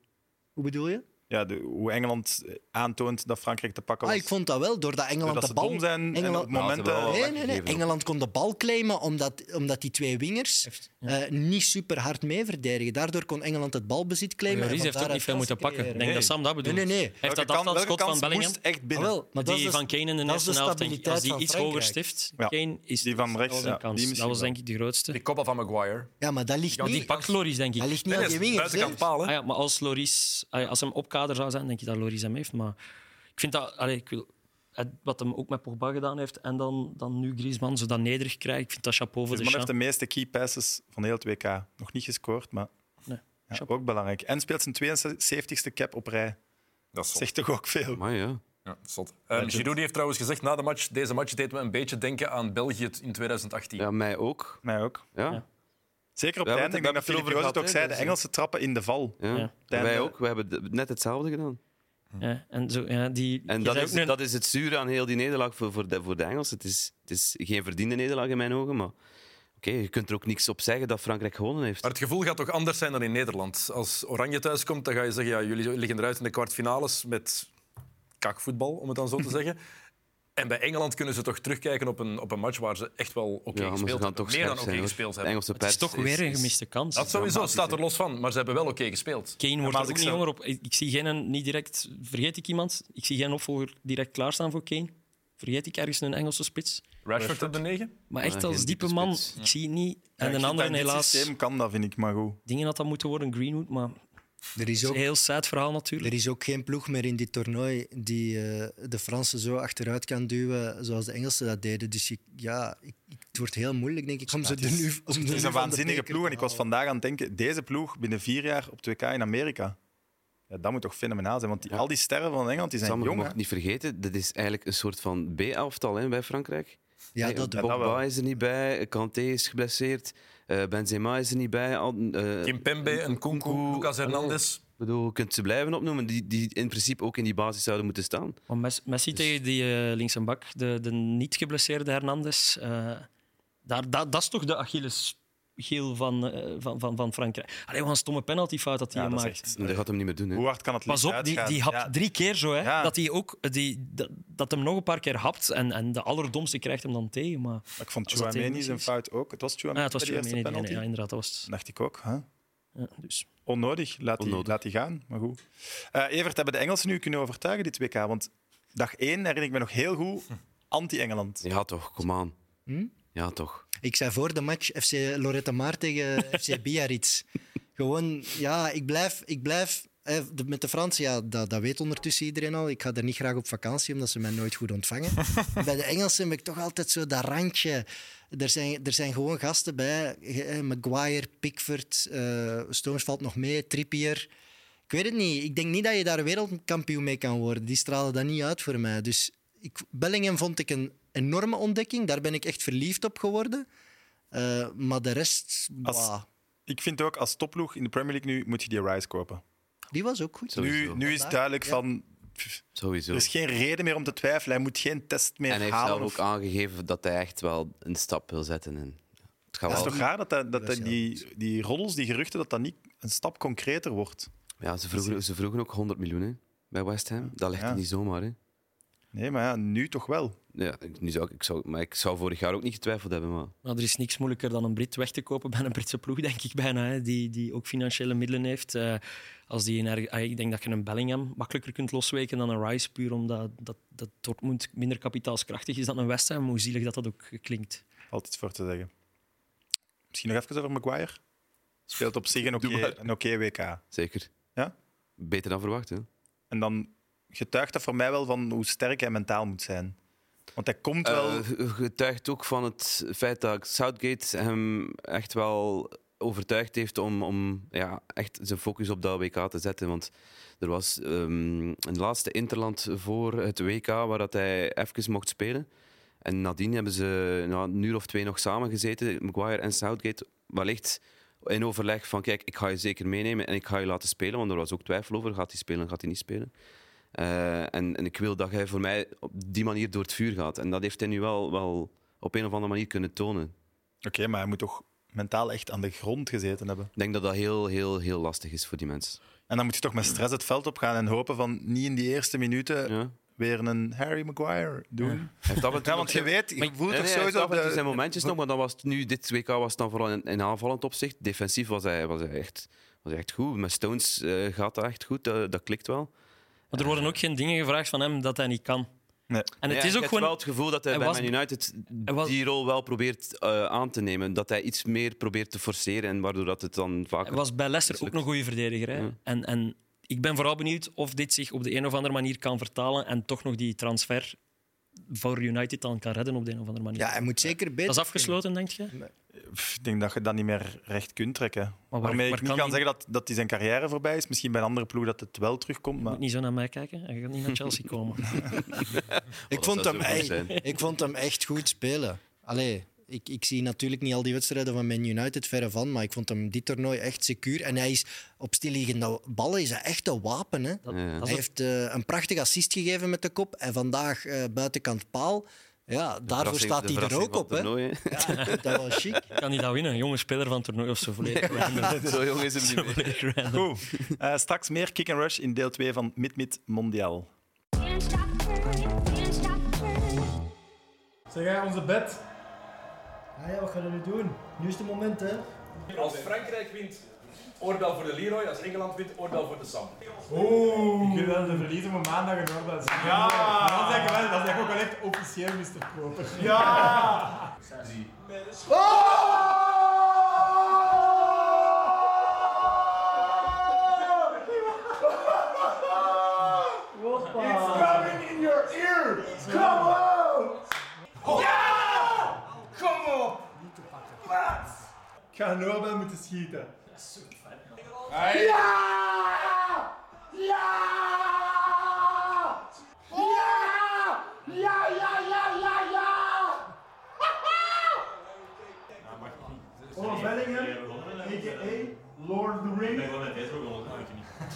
Hoe bedoel je? Ja, de- hoe Engeland eh, aantoont dat Frankrijk te pakken Ah, was. ik vond dat wel, doordat Engeland Doordat de ze bal... dom zijn en op Engeland- Ah, het moment... Ja, ze wel- eh, Nee, nee, nee. gegeven ook. Engeland kon de bal claimen omdat, omdat die twee wingers eh, niet super hard mee verdedigen. Daardoor kon Engeland het balbezit claimen. en Joris van heeft ook daaruit niet veel moeten kansen pakken. Ik denk Nee. dat Sam dat bedoelt. Nee, nee, nee. Hij heeft welke kans- dat welke afstandsschot van kans Bellingham. moest echt Ah, binnen? wel, maar dat die is dus- van Kane in dus de dat is eerste de helft, denk ik, als stabiliteit die van iets hoger Frankrijk. stift, Ja. Kane is Die van dat rechts, was een ja, kans. die dat misschien was wel. denk ik de grootste. Die kop van Maguire. Ja, maar dat ligt Ja, die niet, pakt Loris, denk ik. dat ligt niet aan Nee, die nee, wingers. buitenkant hè. paal, hè. Ah ja, maar als Loris, ah ja, als hem opkader zou zijn, denk ik dat Loris hem heeft. Maar ik vind dat, allee, ik wil, het- wat hem ook met Pogba gedaan heeft en dan, dan nu Griezmann zo dat nederig krijgt, ik vind dat chapeau voor de Griezmann Dus heeft champ. de meeste key passes van heel het WK. Nog niet gescoord, maar Nee. ja, ook belangrijk. En speelt zijn 72e cap op rij. Dat is zot. Zegt toch ook veel. Maar ja. Ja, zot. Ehm, Giroud die heeft trouwens gezegd na de match, deze match deed me een beetje denken aan België t- in 2018. ja, mij ook. Mij ook. Ja. Ja. Zeker op We het hebben einde. Ik denk dat het- we hebben het Philippe erover Roos het ook gehad, zei. hè, De dus, Engelse trappen in de val. Ja. Ja. Wij ook. We hebben d- net hetzelfde gedaan. Ja, en zo, ja, die, En je dat zei is, ook nu- dat is het zure aan heel die nederlaag voor, voor, de, voor de Engelsen. Het is, het is geen verdiende nederlaag in mijn ogen, maar oké, je kunt er ook niks op zeggen dat Frankrijk gewonnen heeft. Maar het gevoel gaat toch anders zijn dan in Nederland. Als Oranje thuiskomt, dan ga je zeggen, ja, jullie liggen eruit in de kwartfinales met kakvoetbal, om het dan zo te zeggen. En bij Engeland kunnen ze toch terugkijken op een, op een match waar ze echt wel oké ja, maar ze gespeeld gaan hebben. toch scherp Meer dan oké zijn, hoor. gespeeld De hebben. Engelse het is pers toch weer een gemiste kans. Dat sowieso, staat er los van. Maar ze hebben wel oké gespeeld. Kane wordt maar er als ook ik niet zou- jonger op. Ik, ik zie geen, niet direct, vergeet ik iemand, ik zie geen opvolger direct klaarstaan voor Kane. Vergeet ik ergens een Engelse spits. Rashford op de negen. Maar echt geen als diepe diepe man, spits. ik zie het niet. Ja, En ik een vind ander dat in dit helaas. systeem kan dat, vind ik, maar goed. Dingen had dat moeten worden, Greenwood, maar Er is het is ook een heel sad verhaal natuurlijk. Er is ook geen ploeg meer in dit toernooi die eh, de Fransen zo achteruit kan duwen zoals de Engelsen dat deden. Dus je- ja, ik, ik- het wordt heel moeilijk, denk ik, om ze de nu... om ze Het nu is van een de waanzinnige beker ploeg. En te ik was halen. vandaag aan het denken, deze ploeg binnen vier jaar op 2K in Amerika. Ja, dat moet toch fenomenaal zijn? Want die- al die sterren van Engeland die zijn Sam, je jong. mag hè. het niet vergeten, dat is eigenlijk een soort van B-elftal hè, bij Frankrijk. Ja, Nee, dat dat- wel. Pogba Ah, wel. is er niet bij, Kanté is geblesseerd, eh, Benzema is er niet bij. Al, eh, ik Kimpembe, en Kunku, Lucas Hernandez. bedoel, je kunt ze blijven opnoemen, die, die in principe ook in die basis zouden moeten staan. Maar Messi, Messi Dus- tegen die eh, links en bak, de, de niet geblesseerde Hernandez, eh, daar, dat- dat is toch de Achilleshiel van, eh, van, van, van Frankrijk. Alleen wat een stomme penaltyfout dat hij Ja, dat is maakt. echt- Dat gaat hem niet meer doen. Hè. Hoe hard kan het Pas licht op, die, uitgaan? die hapt Ja. drie keer zo. Hè, Ja. dat, hij ook, eh, die, dat, dat hem nog een paar keer hapt en, en de allerdomste krijgt hem dan tegen. Maar Maar ik vond Als dat Chouameni technisch zijn is. fout ook. Het was ah, Chouameni het was bij de eerste Tchouameni penalty. die- nee, ja, inderdaad. Dat was, dacht ik ook. Hè? ja, dus. Onnodig, laat, Die, Onnodig. laat die gaan. Maar goed. Eh, Evert, hebben de Engelsen nu kunnen overtuigen dit WK? Want dag 1 herinner ik me nog heel goed anti-Engeland. Ja toch, kom aan. Hm? Ja toch. Ik zei voor de match FC Lorette Maar tegen FC Biarritz. Gewoon, ja, ik blijf... Ik blijf eh, de- met de Fransen, ja, dat, dat weet ondertussen iedereen al. Ik ga er niet graag op vakantie, omdat ze mij nooit goed ontvangen. bij de Engelsen heb ik toch altijd zo dat randje. Er zijn, er zijn gewoon gasten bij. eh, Maguire, Pickford, eh Stones valt nog mee, Trippier. Ik weet het niet. Ik denk niet dat je daar wereldkampioen mee kan worden. Die stralen dat niet uit voor mij. Dus ik, Bellingham vond ik een enorme ontdekking. Daar ben ik echt verliefd op geworden. Eh, maar de rest, Als- bah, Ik vind ook als topploeg in de Premier League nu moet je die Rice kopen. die was ook goed. Sowieso. Nu, nu is Vandaag, duidelijk ja. van pff, Sowieso. er is geen reden meer om te twijfelen. Hij moet geen test meer en hij heeft halen. zelf of- ook aangegeven dat hij echt wel een stap wil zetten. En het gaat Dat is wel. toch raar dat, dat, dat, Dat is dat die, die roddels, die geruchten, dat dat niet een stap concreter wordt. Ja, ze, vroegen, ze vroegen ook 100 miljoen hè, bij West Ham. Dat ligt Ja. er niet zomaar. Hè. Nee, maar ja, nu toch wel. Ja, ik- nu zou, ik- ik zou, maar ik zou vorig jaar ook niet getwijfeld hebben. Maar Nou, er is niks moeilijker dan een Brit weg te kopen bij een Britse ploeg, denk ik bijna, hè, die, die ook financiële middelen heeft. Eh, als die in erg- ah, ik denk dat je een Bellingham makkelijker kunt losweken dan een Rice, puur omdat dat, dat Dortmund minder kapitaalskrachtig is dan een West Ham, hoe zielig dat dat ook klinkt. Altijd voor te zeggen. Misschien nog even over Maguire. Speelt op zich een oké een oké WK. zeker. Ja? Beter dan verwacht. Hè. En dan getuigt dat voor mij wel van hoe sterk hij mentaal moet zijn. Want hij komt wel... Eh, ge- getuigt ook van het feit dat Southgate hem echt wel overtuigd heeft om, om ja, echt zijn focus op dat WK te zetten. Want er was ehm, een laatste interland voor het WK waar dat hij even mocht spelen. En nadien hebben ze na een uur of twee nog samengezeten, Maguire en Southgate, wellicht in overleg van kijk, ik ga je zeker meenemen en ik ga je laten spelen, want er was ook twijfel over, gaat hij spelen, gaat hij niet spelen. Eh, en, en ik wil dat hij voor mij op die manier door het vuur gaat. En dat heeft hij nu wel, wel op een of andere manier kunnen tonen. maar hij moet toch mentaal echt aan de grond gezeten hebben. Ik denk dat dat heel, heel, heel lastig is voor die mensen. En dan moet je toch met stress het veld op gaan en hopen van niet in die eerste minuten Ja. weer een Harry Maguire doen. Heeft dat Ja, want je weet, je voelt Nee, toch nee, hij sowieso... heeft af en toe de- zijn momentjes nog, maar dat was nu, dit WK was het dan vooral in, in aanvallend opzicht. Defensief was hij, was hij, echt, was hij echt goed. Met Stones eh, gaat dat echt goed, dat, dat klikt wel. Maar er worden ook geen dingen gevraagd van hem dat hij niet kan. Nee. En het Ja, is ik ook heb gewoon... wel het gevoel dat hij, hij bij was- Man United hij was- die rol wel probeert eh, aan te nemen. Dat hij iets meer probeert te forceren en waardoor dat het dan vaak... Hij was bij Leicester ook Mislukt. een goede verdediger. Hè? En, en ik ben vooral benieuwd of dit zich op de een of andere manier kan vertalen en toch nog die transfer voor United dan kan redden op de een of andere manier. Ja, hij moet zeker dat beter. is afgesloten, denk je? Pff, ik denk dat je dat niet meer recht kunt trekken. waar- Waarmee waar ik niet kan kan die- zeggen dat, dat hij zijn carrière voorbij is. Misschien bij een andere ploeg dat het wel terugkomt. Je Maar... moet niet zo naar mij kijken. Hij gaat niet naar Chelsea komen. Ik Oh, dat vond, zou hem zo goed echt, zijn. ik vond hem echt goed spelen. Allee, ik, ik zie natuurlijk niet al die wedstrijden van Man United verre van, maar ik vond hem dit toernooi echt secuur. En hij is op stilliggende ballen is hij echt een wapen. Hè? Dat, Ja. dat is Hij heeft eh, een prachtig assist gegeven met de kop en vandaag eh, buitenkant paal. Ja, daarvoor Verrassing- staat de hij er ook verrassing van op. Hè? het toernooi, Ja, dat was chic. ook- kan hij dat winnen? Een jonge speler van het toernooi of zo. Volledig random. hè. Zo jong is hem niet meer. Volledig random. Goed. Eh, straks meer Kick and Rush in deel 2 van Mid-Mid Mondiaal. Can't stop the burning, can't stop the burning. Zeg jij onze bed? Ah ja, wat gaan we nu doen? Nu is het moment, hè? Als Frankrijk wint, oordeel voor de Leroy. Als Engeland wint, oordeel voor de Sam. Oeh. Ik wil de verliezen van maandag in orde zijn. Ja! Dat zeg ik wel, dat zeg ik ook wel echt officieel, Mr. Proper.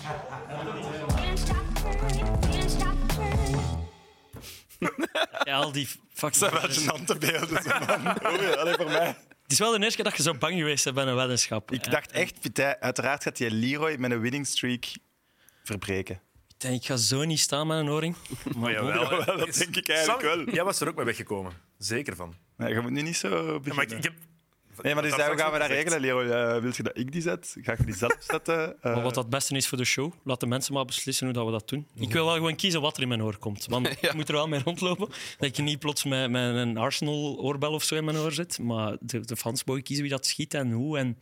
Can't stop the burning, can't stop the burning. Ja, al die Dat zijn fucking... wel gênante beelden, zeg, man. Oei, allee, voor mij. Het is wel de eerste keer dat je zo bang geweest bent bij een weddenschap. Ik dacht echt, Pieter, uiteraard gaat je Leroy met een winning streak verbreken. Ik denk, ik ga zo niet staan met een oring. Eh. Maar Ja, wel, dat denk ik Sam, eigenlijk wel. jij was er ook mee weggekomen. Zeker van. Nee, je moet nu niet zo Ja, maar ik, beginnen. ik heb... Nee, maar dus dat daar gaan straks we dat ook regelen, Leroy. Eh, wil je dat ik die zet? Ga ik die zelf zetten? Eh, Maar wat dat het beste is voor de show, laat de mensen maar beslissen hoe dat we dat doen. Ik wil wel gewoon kiezen wat er in mijn oor komt. Want ik moet er wel mee rondlopen. Dat je niet plots met, met een Arsenal-oorbel of zo in mijn oor zit. Maar de, de fans mogen kiezen wie dat schiet en hoe. En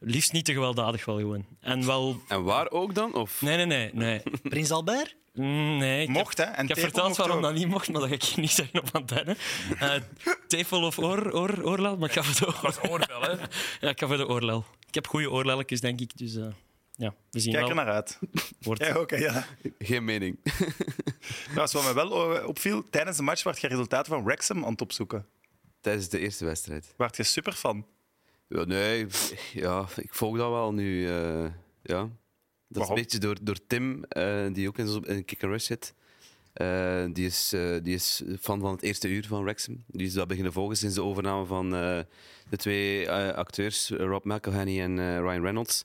liefst niet te gewelddadig wel gewoon. En wel... En waar ook dan? Of? Nee, nee, nee. Nee. Prins Albert? Mm, nee ik heb- Mocht, hè? En ik heb Tefel verteld mocht waarom ook. dat niet mocht, maar dat ga ik hier niet zeggen op antenne. Eh tefel of oor, oor, oorlel, maar ik ga voor de oor- Oordeel, hè. Ja, ik ga voor de oorlel. Ik heb goede oorlelletjes, denk ik. Dus eh, ja, we zien Kijk er wel. naar uit. Wordt- Ja, oké, ja. Geen mening. Trouwens, wat me wel eh, opviel, tijdens de match werd je resultaten van Wrexham aan het opzoeken. Tijdens de eerste wedstrijd. Werd je super van. Ja, nee, pff, ja, ik volg dat wel nu. eh, ja. Dat is Waarom? een beetje door, door Tim, eh, die ook in, zo'n- in Kick and Rush zit. Eh, die, is, eh, die is fan van het eerste uur van Wrexham. Die is dat beginnen volgen sinds de overname van eh, de twee eh, acteurs, eh, Rob McElhenney en eh, Ryan Reynolds.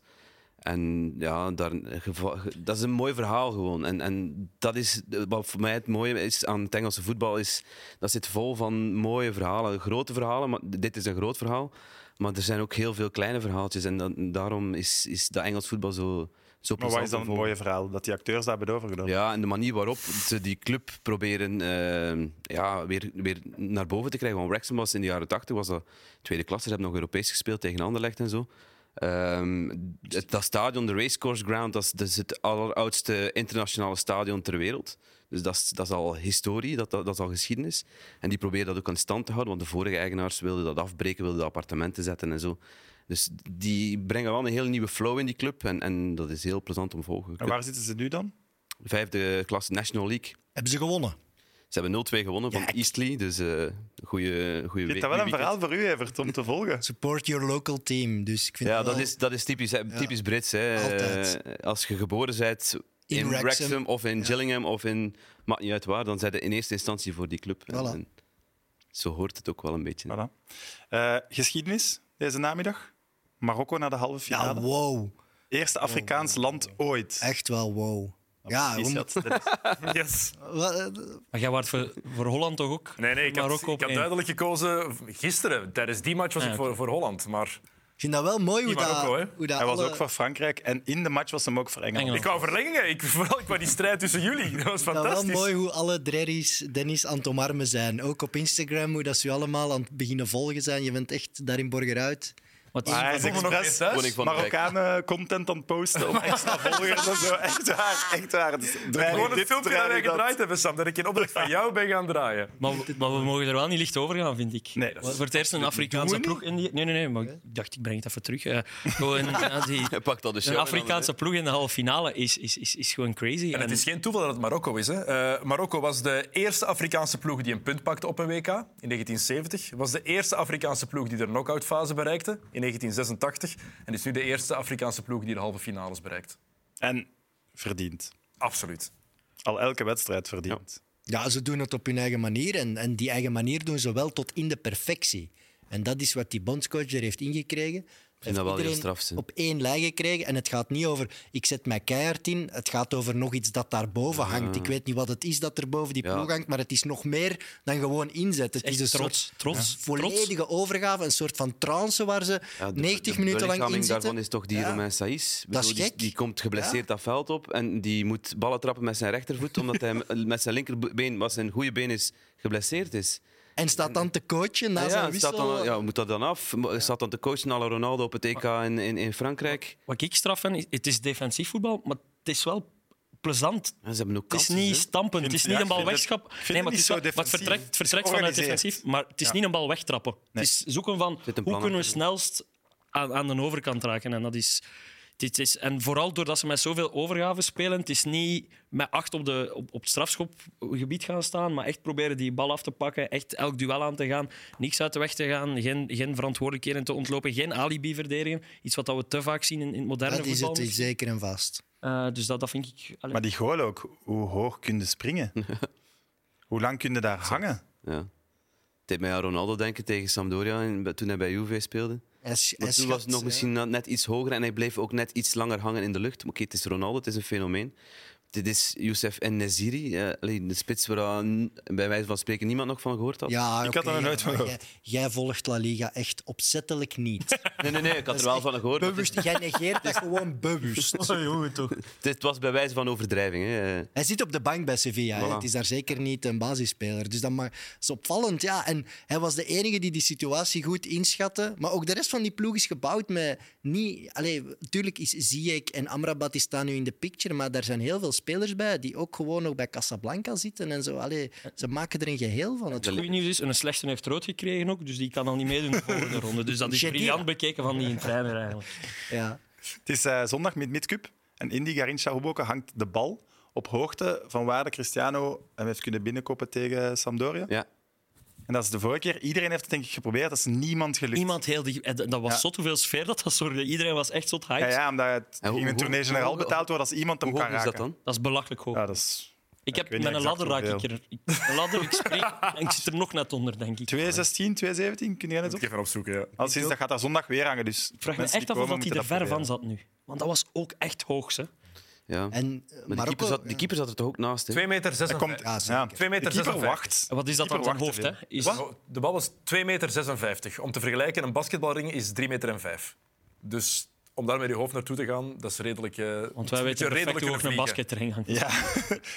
En ja, daar, geva- ge- dat is een mooi verhaal gewoon. En, en dat is de- wat voor mij het mooie is aan het Engelse voetbal. Is, dat zit vol van mooie verhalen, grote verhalen. Maar dit is een groot verhaal. Maar er zijn ook heel veel kleine verhaaltjes. En dan- daarom is, is dat Engels voetbal zo, zo Maar wat is dan het om te volgen. mooie verhaal? Dat die acteurs daar hebben overgenomen. Ja, en de manier waarop ze die club proberen eh, ja, weer, weer naar boven te krijgen. Want Wrexham was in de jaren 80 was dat tweede klasse. Ze hebben nog Europees gespeeld tegen Anderlecht en zo. Ehm, het, dat stadion, de Racecourse Ground, dat is, dat is het alleroudste internationale stadion ter wereld. Dus dat is, dat is al historie, dat, dat, dat is al geschiedenis. En die proberen dat ook aan stand te houden, want de vorige eigenaars wilden dat afbreken, wilden de appartementen zetten en zo. Dus die brengen wel een heel nieuwe flow in die club en, en dat is heel plezant om te volgen. En waar zitten ze nu dan? Vijfde klasse National League. Hebben ze gewonnen? Ze hebben 0-2 gewonnen van Eastleigh, dus eh goede goede Je hebt daar wel een verhaal voor u, Evert, om te volgen. Support your local team. Dus ik vind Ja, het dat wel- is, dat is typisch, hè, typisch Brits. Hè. Altijd. Eh, Als je geboren bent In in Wrexham. Wrexham of in Gillingham of in... Maakt niet uit waar, dan zijn ze in eerste instantie voor die club. En- Voilà. en zo hoort het ook wel een beetje. Voilà. Eh, geschiedenis deze namiddag. Marokko naar de halve Ja, finale. wow. Oh, Eerste Afrikaans land ooit. Echt wel wow. Ja, Precies, om- dat- dat is- Yes. wa- eh, Maar jij waart voor, voor Holland toch ook? Nee, nee, ik had, Marokko op ik had één. duidelijk gekozen gisteren. Tijdens die match was Ah, ik oké. voor, voor Holland. Maar ik vind dat wel mooi hoe Die dat... Marokko, hè? Hoe dat Hij was alle- ook voor Frankrijk en in de match was hem ook voor Engeland. Engeland. ik wou verlengen. Ik, vooral ik wou die strijd tussen jullie. Dat Ik was vind dat wel fantastisch. mooi hoe alle Drerry's Dennis aan het omarmen zijn. Ook op Instagram, hoe dat ze je allemaal aan het beginnen volgen zijn. Je bent echt daar in Borgeruit. Wat Maar Ah, hij is is Vonden we nog eens expres thuis? Koning van de Wijk. Marokkanen content aan het posten op extra volgers en zo. Echt waar, echt waar. Het is dreiging Gewoon het dit, filmpje dat wij dreiging dat. gedraaid hebben, Sam. Dat ik in opdracht van jou ben gaan draaien. Maar, we- maar we mogen er wel niet licht over gaan, vind ik. Nee, dat is- voor het eerst een Afrikaanse ploeg in die... Nee, nee, nee, maar ik dacht, ik breng het even terug. Eh, gewoon, ja, die, Hij pakt dat dus een Afrikaanse ploeg in de halve finale is, is, is, is gewoon crazy. En het is geen toeval dat het Marokko is. Hè. Eh, Marokko was de eerste Afrikaanse ploeg die een punt pakte op een WK in 1970. Was de eerste Afrikaanse ploeg die de knock-outfase bereikte in 1986. En is nu de eerste Afrikaanse ploeg die de halve finales bereikt. En verdiend. Absoluut. Al elke wedstrijd verdiend. Ja, ze doen het op hun eigen manier. En, en die eigen manier doen ze wel tot in de perfectie. En dat is wat die bondscoach er heeft ingekregen. Heeft dat wel heel iedereen straf, ze. op één lijn gekregen. En het gaat niet over ik zet mij keihard in. Het gaat over nog iets dat daarboven hangt. Ik weet niet wat het is dat er boven die Ja. ploeg hangt. Maar het is nog meer dan gewoon inzet. Het echt is een trots, soort trots, trots. volledige overgave. Een soort van trance waar ze Ja, de- 90 de minuten lang in belichaming daarvan zitten. is toch die Ja. Romain Saïs. Ik bedoel, die, gek. die komt geblesseerd dat veld op en die moet ballen trappen met zijn rechtervoet, omdat hij m- met zijn linkerbeen, wat zijn goede been is, geblesseerd is. En staat dan te coachen na Ja, zijn staat wissel. dan, ja, moet dat dan af? Mo- Staat dan te coachen à la Ronaldo op het EK in, in, in Frankrijk? Wat ik straf vind, is- het is defensief voetbal, maar het is wel plezant. Ja, ze hebben ook Het is kansen, niet hè. stampend, het is Vind- niet ja, een bal ik vind het- wegschap. ik vind Nee, het maar niet is zo wel- maar het defensief. vertrekt, het vertrekt Het is vanuit georganiseerd. defensief, maar het is niet een bal wegtrappen. Het is zoeken van zit een hoe plan kunnen we achter. snelst aan, aan de overkant raken. En dat is... Dit is, en vooral doordat ze met zoveel overgaven spelen, het is niet met acht op, de, op, op het strafschopgebied gaan staan, maar echt proberen die bal af te pakken, echt elk duel aan te gaan, niks uit de weg te gaan, geen, geen verantwoordelijkheden te ontlopen, geen alibi verdedigen. Iets wat dat we te vaak zien in, in het moderne Dat is voetbal. het zeker en vast. Eh, dus dat, dat vind ik... allee, Maar die goal ook. Hoe hoog kun je springen? Hoe lang kun je daar hangen? Ja. Het deed mij aan Ronaldo denken tegen Sampdoria in- toen hij bij Juve speelde. Hij sch- Maar hij toen was het schat, nog eh, misschien na- net iets hoger en hij bleef ook net iets langer hangen in de lucht. Maar Oké, het is Ronaldo, het is een fenomeen. Dit is Youssef en Neziri, eh, allee, de spits waar eh, bij wijze van spreken niemand nog van gehoord had. Ja, Ik had dat oké, nog ja, nooit van maar gehoord. Jij, jij volgt La Liga echt opzettelijk niet. Nee, nee, nee, ik had er wel van gehoord. maar het is- bewust, jij negeert dat gewoon bewust. Dit was bij wijze van overdrijving. Hè. Eh, Hij zit op de bank bij Sevilla. hè. Voilà. Het is daar zeker niet een basisspeler. Dus dat, ma- dat is opvallend. Ja. En hij was de enige die die situatie goed inschatte. Maar ook de rest van die ploeg is gebouwd met niet. Allee, natuurlijk is Ziyech en Amrabat die staan nu in de picture. Maar daar zijn heel veel spelers bij die ook gewoon nog bij Casablanca zitten en zo. Allee, ze maken er een geheel van. Het Het goede nieuws is, een slechte heeft rood gekregen ook, dus die kan al niet meedoen in de volgende ronde. Dus dat is Shakira. briljant bekeken van die trainer eigenlijk. ja. Het is eh, zondag met Midcup. En in die Garin Shahuboke hangt de bal op hoogte van waar de Cristiano hem heeft kunnen binnenkoppen tegen Sampdoria. ja. En dat is de vorige keer. Iedereen heeft het denk ik geprobeerd. Dat is niemand gelukt. Iemand heel... die- en Dat was Ja. zot hoeveel sfeer dat dat zorgde. Iedereen was echt zot hyped. Ja, ja, omdat het En hoe- in een hoe- tournee generaal hoe- betaald wordt als iemand hem Hoe kan hoog is raken. dat dan? Dat is belachelijk hoog. Ja, dat is ik ik heb weet niet met een exact ladder raak ik er... ik- Een ladder, ik spring en ik zit er nog net onder, denk ik. 216, 217. Kun jij net Moet op? ik even opzoeken, ja. Al sinds dat gaat daar zondag weer hangen. Dus Ik vraag me echt af of dat hij er ver van zat nu. Want dat was ook echt hoog, hè. ja. Maar En eh, die, Marokko- keeper zat, die keeper zat er toch ook naast? Hè? 2 meter Hij 56. komt, Ja, ja, zeker. Twee meter de keeper 56. wacht. En Wat is dat dan Keeper ten wacht hoofd, te hè? veel. Is, De bal was 2,56 meter. 56. Om te vergelijken, een basketbalring is 3,05 meter. Dus om daar met je hoofd naartoe te gaan, dat is redelijk... eh, Want wij een weten perfect redelijker hoe hoog een vliegen. basket erin hangt. Ja.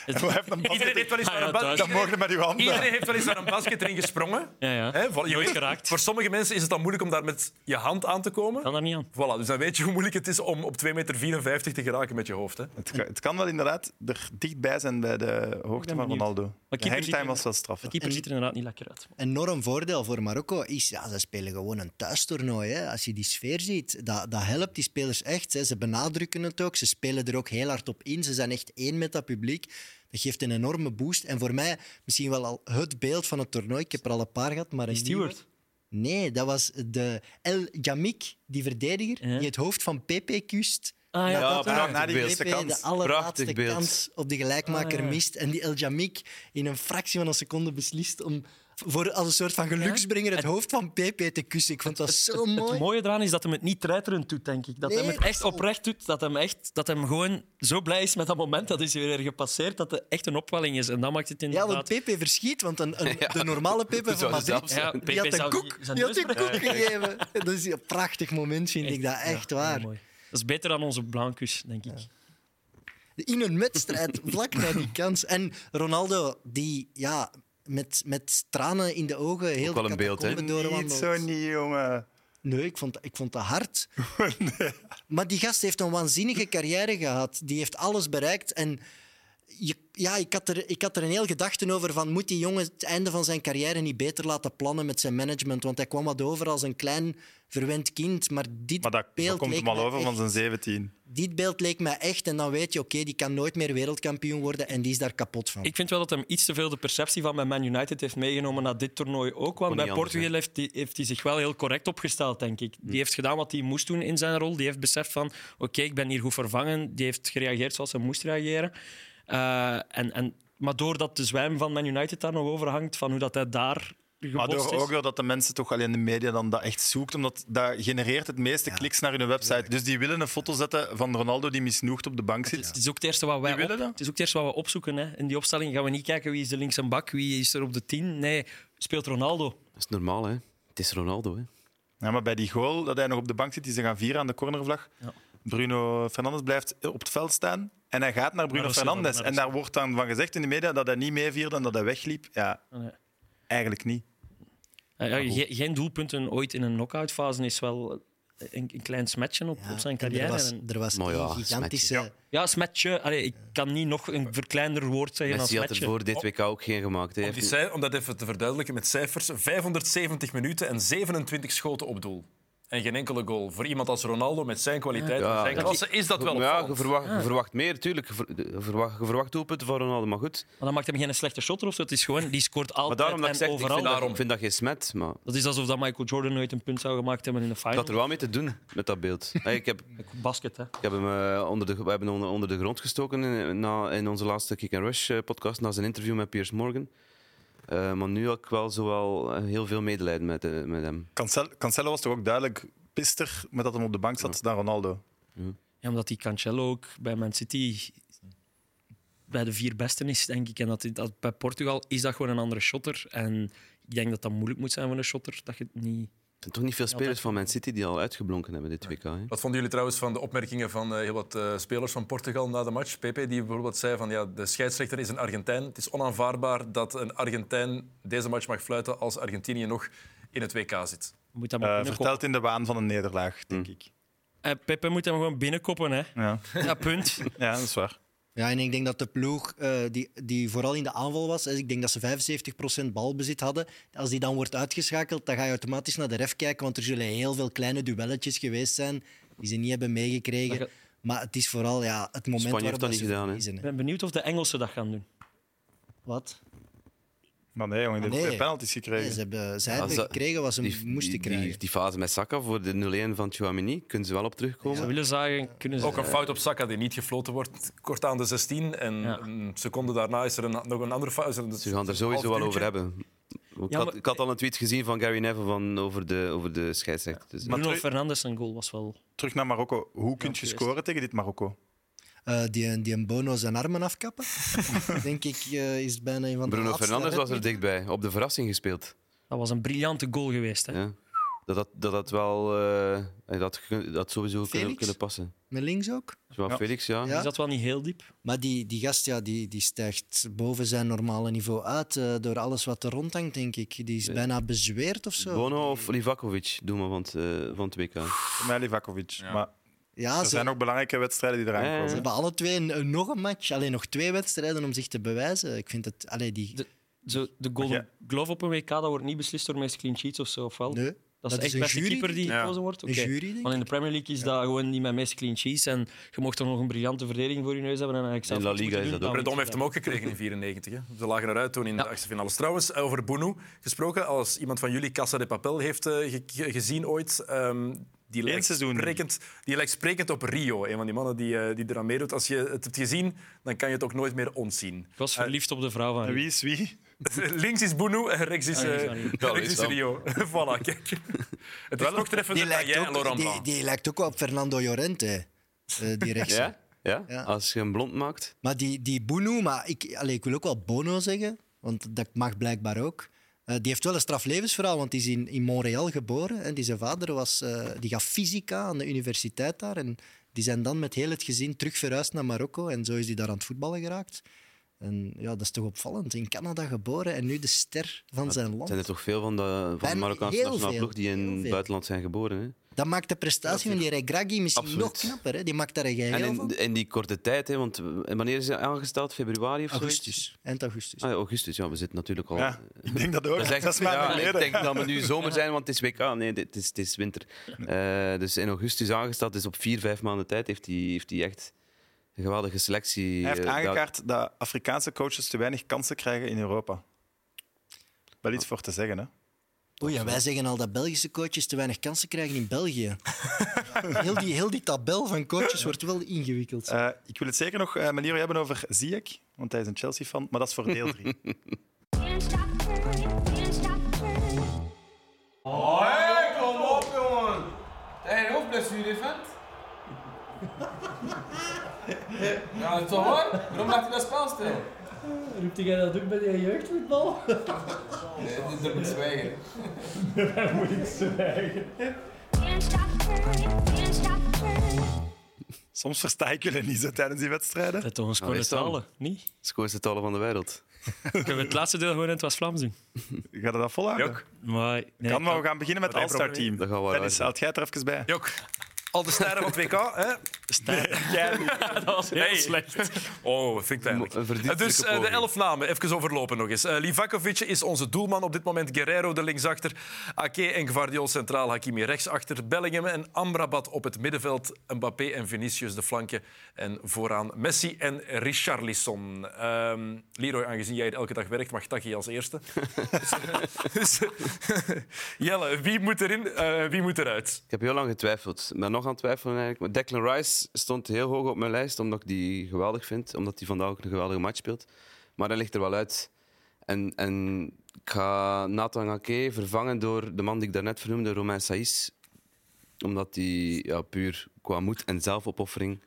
En hoe heeft een bal- Iedereen heeft wel eens Ah, ja, naar een, ba- thuis. Dat mogen we met uw handen. Iedereen heeft wel eens naar een basketring gesprongen. Ja, ja. Hè, voor- je Nooit weet- geraakt. Voor sommige mensen is het dan moeilijk om daar met je hand aan te komen. Kan daar niet aan. Voilà, dus dan weet je hoe moeilijk het is om op 2,54 meter te geraken met je hoofd. Hè. Het kan, het kan wel inderdaad er dichtbij zijn bij de hoogte van ben benieuwd. Ronaldo. Maar De keeper ziet hangtime er- was wel straf. De hè. keeper ziet er inderdaad niet lekker uit. enorm voordeel voor Marokko is, ja, ze spelen gewoon een thuistoernooi. Hè. Als je die sfeer ziet, dat, dat helpt die spelers echt. Hè. Ze benadrukken het ook, ze spelen er ook heel hard op in. Ze zijn echt één met dat publiek. Dat geeft een enorme boost. En voor mij misschien wel al het beeld van het toernooi. Ik heb er al een paar gehad, maar een nieuwe- Stewart. Nee, dat was de El Jamik, die verdediger, Ja. die het hoofd van PP kust Ah, ja, Ja, dat, ja. na, na die beeld. eerste PSV de kans. allerlaatste Prachtig beeld. kans op de gelijkmaker Ah, ja. mist. En die El Jamik in een fractie van een seconde beslist om voor, als een soort van geluksbrenger het hoofd van PP te kussen. Ik vond dat zo Het mooi. mooie eraan is dat hij het niet treiterend doet, denk ik. Dat Nee, hij het dat echt zal- oprecht doet. Dat hij, echt, dat hij gewoon zo blij is met dat moment. Dat is weer gepasseerd. Dat het echt een opwelling is. En dat maakt het Ja, inderdaad... want PP verschiet, want een, een- Ja. de normale PP zou van zelf Madrid zijn. Ja, Die die PP had een zou koek, zijn die had neus een koek gegeven. Dat is een prachtig moment, vind ik breken. dat. Echt ja, waar. heel mooi. Dat is beter dan onze Blancus, denk ik. in een wedstrijd, vlak na die kans. En Ronaldo, die ja, met, met tranen in de ogen heel wel de een beeld, hè? catacombe Niet doorwandelt. zo niet, jongen. Nee, ik vond, ik vond dat hard. Maar die gast heeft een waanzinnige carrière gehad. Die heeft alles bereikt. En je, ja, ik, had er, ik had er een heel gedachten over van... Moet die jongen het einde van zijn carrière niet beter laten plannen met zijn management? Want hij kwam wat over als een klein, verwend kind. Maar dit Maar dat, beeld dat komt leek hem al mij over echt- van zijn 17. dit beeld leek mij echt. En dan weet je, oké, die kan nooit meer wereldkampioen worden en die is daar kapot van. Ik vind wel dat hem iets te veel de perceptie van bij Man United heeft meegenomen naar dit toernooi ook. Want niet bij anders, Portugal heeft hij heeft hij zich wel heel correct opgesteld, denk ik. Hm. Die heeft gedaan wat hij moest doen in zijn rol. Die heeft beseft van, oké, ik ben hier goed vervangen. Die heeft gereageerd zoals hij moest reageren. Eh, en, en, maar doordat de zwijm van Man United daar nog over hangt, van hoe dat hij daar Maar door, gebotst is... ook doordat de mensen toch alleen de media dan dat echt zoekt, omdat dat genereert het meeste kliks naar hun website. Dus die willen een foto zetten van Ronaldo die misnoegd op de bank zit. Het is ook het eerste wat wij Wie willen op- dat? het is ook het eerste wat we opzoeken. Hè. In die opstelling gaan we niet kijken wie is de linkse bak, wie is er op de tien. Nee, speelt Ronaldo. Dat is normaal, hè? Het is Ronaldo, hè? Ja, maar bij die goal dat hij nog op de bank zit, die ze gaan vieren aan de cornervlag. Ja. Bruno Fernandes blijft op het veld staan en hij gaat naar Bruno Naar de Silva, Fernandes. naar de En daar wordt dan van gezegd in de media dat hij niet meevierde en dat hij wegliep. Ja, Nee. eigenlijk niet. Ja, ja, ge- geen doelpunten ooit in een knock-out fase is wel een, een klein smetje op, Ja, op zijn en carrière. Er was, En- er was Maar ja, een gigantische... smetje. ja, smetje. Allee, ik kan niet nog een verkleinder woord zeggen dan Messi had smetje. er voor dit WK ook geen gemaakt. Hij Om, die heeft- cij- om dat even te verduidelijken met cijfers: 570 minuten en 27 schoten op doel. En geen enkele goal. Voor iemand als Ronaldo met zijn kwaliteit en Ja, zijn ja. klasse is dat wel Maar ja, je opvallend. verwacht, je verwacht meer, tuurlijk. Je ver- je verwacht, je verwacht doelpunten van Ronaldo, maar goed. Maar dat maakt hem geen slechte shotter of zo. Het is gewoon, die scoort Maar altijd daarom dat ik en zeg, ik overal. vind, dat, Daarom. ik vind dat geen smet, maar Dat is alsof dat Michael Jordan nooit een punt zou gemaakt hebben in de final. dat had er wel mee te doen met dat beeld. Hey, ik heb, Basket, hè. ik heb hem, eh, onder de, we hebben hem onder, onder de grond gestoken in, na, in onze laatste Kick and Rush eh, podcast, na zijn interview met Piers Morgan. Eh, maar nu had ik wel zowel eh, heel veel medelijden met, eh, met hem. Cancel- Cancelo was toch ook duidelijk pister met dat hem op de bank zat dan Ronaldo. Ja, omdat die Cancelo ook bij Man City bij de vier besten is, denk ik. En dat, dat, bij Portugal is dat gewoon een andere shotter. En ik denk dat dat moeilijk moet zijn voor een shotter. Dat je het niet... Er zijn toch niet veel spelers van Man City die al uitgeblonken hebben dit WK. Hè? Wat vonden jullie trouwens van de opmerkingen van eh, heel wat eh, spelers van Portugal na de match? Pepe, die bijvoorbeeld zei van ja, de scheidsrechter is een Argentijn. Het is onaanvaardbaar dat een Argentijn deze match mag fluiten als Argentinië nog in het WK zit. Moet dat maar Eh binnenkoppen. verteld in de waan van een nederlaag, denk ik. Eh, Pepe moet hem gewoon binnenkoppen, hè. Ja. Ja, punt. ja, dat is waar. Ja, en ik denk dat de ploeg, eh, die, die vooral in de aanval was, dus ik denk dat ze 75% balbezit hadden. Als die dan wordt uitgeschakeld, dan ga je automatisch naar de ref kijken, want er zullen heel veel kleine duelletjes geweest zijn die ze niet hebben meegekregen. Dat Maar het is vooral ja, het moment Spanje waarop heeft dat niet ze gedaan, hè? verliezen, Ik hè. ben benieuwd of de Engelsen dat gaan doen. Wat? Maar nee, jongen, die Nee. heeft twee penalties Nee, gekregen. ze hebben, zij hebben Als dat- gekregen wat ze Die, moesten die, krijgen. die, die fase met Saka voor de 0-1 van Chouamini, kunnen ze wel op terugkomen. Ze willen zagen, kunnen ze. Ook een fout op Saka die niet gefloten wordt, kort aan de 16. En Ja. een seconde daarna is er een, nog een andere fout. Is er een- Ze gaan er half sowieso wel uurtje. over hebben. Ik, Ja, had, maar- ik had al een tweet gezien van Gary Neville van over, de, over de scheidsrechter. Dus, Bruno terug- Fernandes zijn goal was wel. Terug naar Marokko. Hoe kun je juist. scoren tegen dit Marokko? Eh, die, die een Bono zijn armen afkappen. denk ik, eh, is bijna een van de Bruno laatste Fernandes was er redmiddelen. dichtbij, op de verrassing gespeeld. Dat was een briljante goal geweest. Hè? Ja. Dat, dat, dat dat wel eh, dat, had ge- dat had sowieso kunnen, Felix? kunnen passen. Met links ook. Zowel Ja. Felix, ja. Ja. Is dat wel niet heel diep? Maar die, die gast ja, die, die stijgt boven zijn normale niveau uit eh, door alles wat er rond hangt, denk ik. Die is bijna bezweerd of zo. Bono of Livakovic, doe maar van het, eh, van het WK. Voor mij Livakovic. Maar ja, er Ah, ze, zijn ook belangrijke wedstrijden die eraan Ja, ja, ja. komen. ze hebben alle twee een- een- nog een match. Alleen nog twee wedstrijden om zich te bewijzen. Ik vind het... Allee, die... De- Zo, de Golden Ja. Glove op een WK dat wordt niet beslist door meest clean sheets of zo. Of wel? Nee, Dat is dat is echt een de beste jury, keeper die denk ik. gekozen wordt. Een Oké. jury, denk Want in de Premier League is dat gewoon die met meest clean sheets. En je mocht toch nog een briljante verdediging voor je neus hebben. En eigenlijk zelf In La niks Liga moeten is doen, Nou, dat Predom dan heeft hem ook gekregen in 1994. Ze lagen eruit toen in de Ja. achtste finales. Trouwens, eh, over Bounou gesproken. Als iemand van jullie Casa de Papel heeft eh, ge- ge- gezien ooit, ehm, Die lijkt, seizoen. sprekend, die lijkt sprekend op Rio, een van die mannen die, eh, die eraan meedoet. Als je het hebt gezien, dan kan je het ook nooit meer ontzien. Ik was verliefd op de vrouw van En Rio. wie is wie? Links is Bounou en rechts is, Ah, eh, ja, sorry. rechts Dat is is dan. Rio. voilà, kijk. Het is nog treffender dan jij en Laurent die, Blanc. die lijkt ook wel op Fernando Llorente, eh, die rechts. Ja? Ja? Ja. Als je hem blond maakt. Maar die, die Boeno, maar ik, allee, ik wil ook wel Bono zeggen, want dat mag blijkbaar ook. Eh, die heeft wel een straflevensverhaal, want die is in, in Montreal geboren. En die zijn vader was, eh, die gaf fysica aan de universiteit daar. En die zijn dan met heel het gezin terug verhuisd naar Marokko. En zo is die daar aan het voetballen geraakt. En ja, dat is toch opvallend. In Canada geboren en nu de ster van zijn land. zijn er toch veel van de, van de Ben- Marokkaanse heel nationale veel, ploeg die in heel het veel. buitenland zijn geboren. Hè? Dat maakt de prestatie van die Regraggi misschien Absoluut. nog knapper. Hè? Die maakt daar een En geheel in, van. in die korte tijd, hè, want w- wanneer is hij aangesteld? Februari of zo? Augustus. Eind augustus. Ah, ja, augustus, ja, we zitten natuurlijk al. Ja, ik denk dat ook. Dat is echt, Zes maanden ja, ik geleden. denk dat we nu zomer zijn, want het is WK. Nee, dit- het is, het is winter. Eh, dus in augustus aangesteld, dus op vier, vijf maanden tijd heeft hij heeft hij echt een geweldige selectie. Hij heeft eh, daar- aangekaart dat Afrikaanse coaches te weinig kansen krijgen in Europa. Wel iets voor te zeggen, hè? Oei, en wij zeggen al dat Belgische coaches te weinig kansen krijgen in België. heel, die, heel die tabel van coaches wordt wel ingewikkeld. Eh, ik wil het zeker nog eh met Leroy hebben over Ziyech, want hij is een Chelsea-fan, maar dat is voor deel 3. Can't stop the rain, can't stop the rain. Hey, hoofd blessure, vent. Ja, dat is toch waar? Waarom maakt hij dat spel stil? Roept jij dat ook bij de jeugdvoetbal? Nee, dit is er moet zwijgen. Can't stop the rain, can't stop the rain. Soms versta ik jullie niet zo tijdens die wedstrijden. Dat toch een Nou, score is dat? talen, niet? Scores het alle van de wereld. Kunnen we het laatste deel gewoon in het West-Vlaams doen? Ga je dat volhouden? Jok, Maar, nee, Kan, maar we gaan beginnen met het Dat heeft All-Star Team. Dat gaan we Dennis, eruit. haalt jij het er even bij? Jok. Al de sterren van het WK, hè? dat was heel Hey. slecht. Oh, vind ik eigenlijk. Een verdienstelijke Dus eh, de poging. elf namen, even overlopen nog eens. Eh, Livakovic is onze doelman op dit moment. Guerrero de linksachter. Ake en Gvardiol centraal. Hakimi rechtsachter. Bellingham en Amrabat op het middenveld. Mbappé en Vinicius de flanken. En vooraan Messi en Richarlison. Ehm Leroy, aangezien jij hier elke dag werkt, mag Taki als eerste. dus, eh, Jelle, wie moet erin, eh, wie moet eruit? Ik heb heel lang getwijfeld. Ik ben nog aan het twijfelen eigenlijk. Maar Declan Rice stond heel hoog op mijn lijst, omdat ik die geweldig vind. Omdat hij vandaag ook een geweldige match speelt. Maar hij ligt er wel uit. En, en ik ga Nathan Ake vervangen door de man die ik daarnet vernoemde, Romain Saïs. Omdat hij ja, puur qua moed en zelfopoffering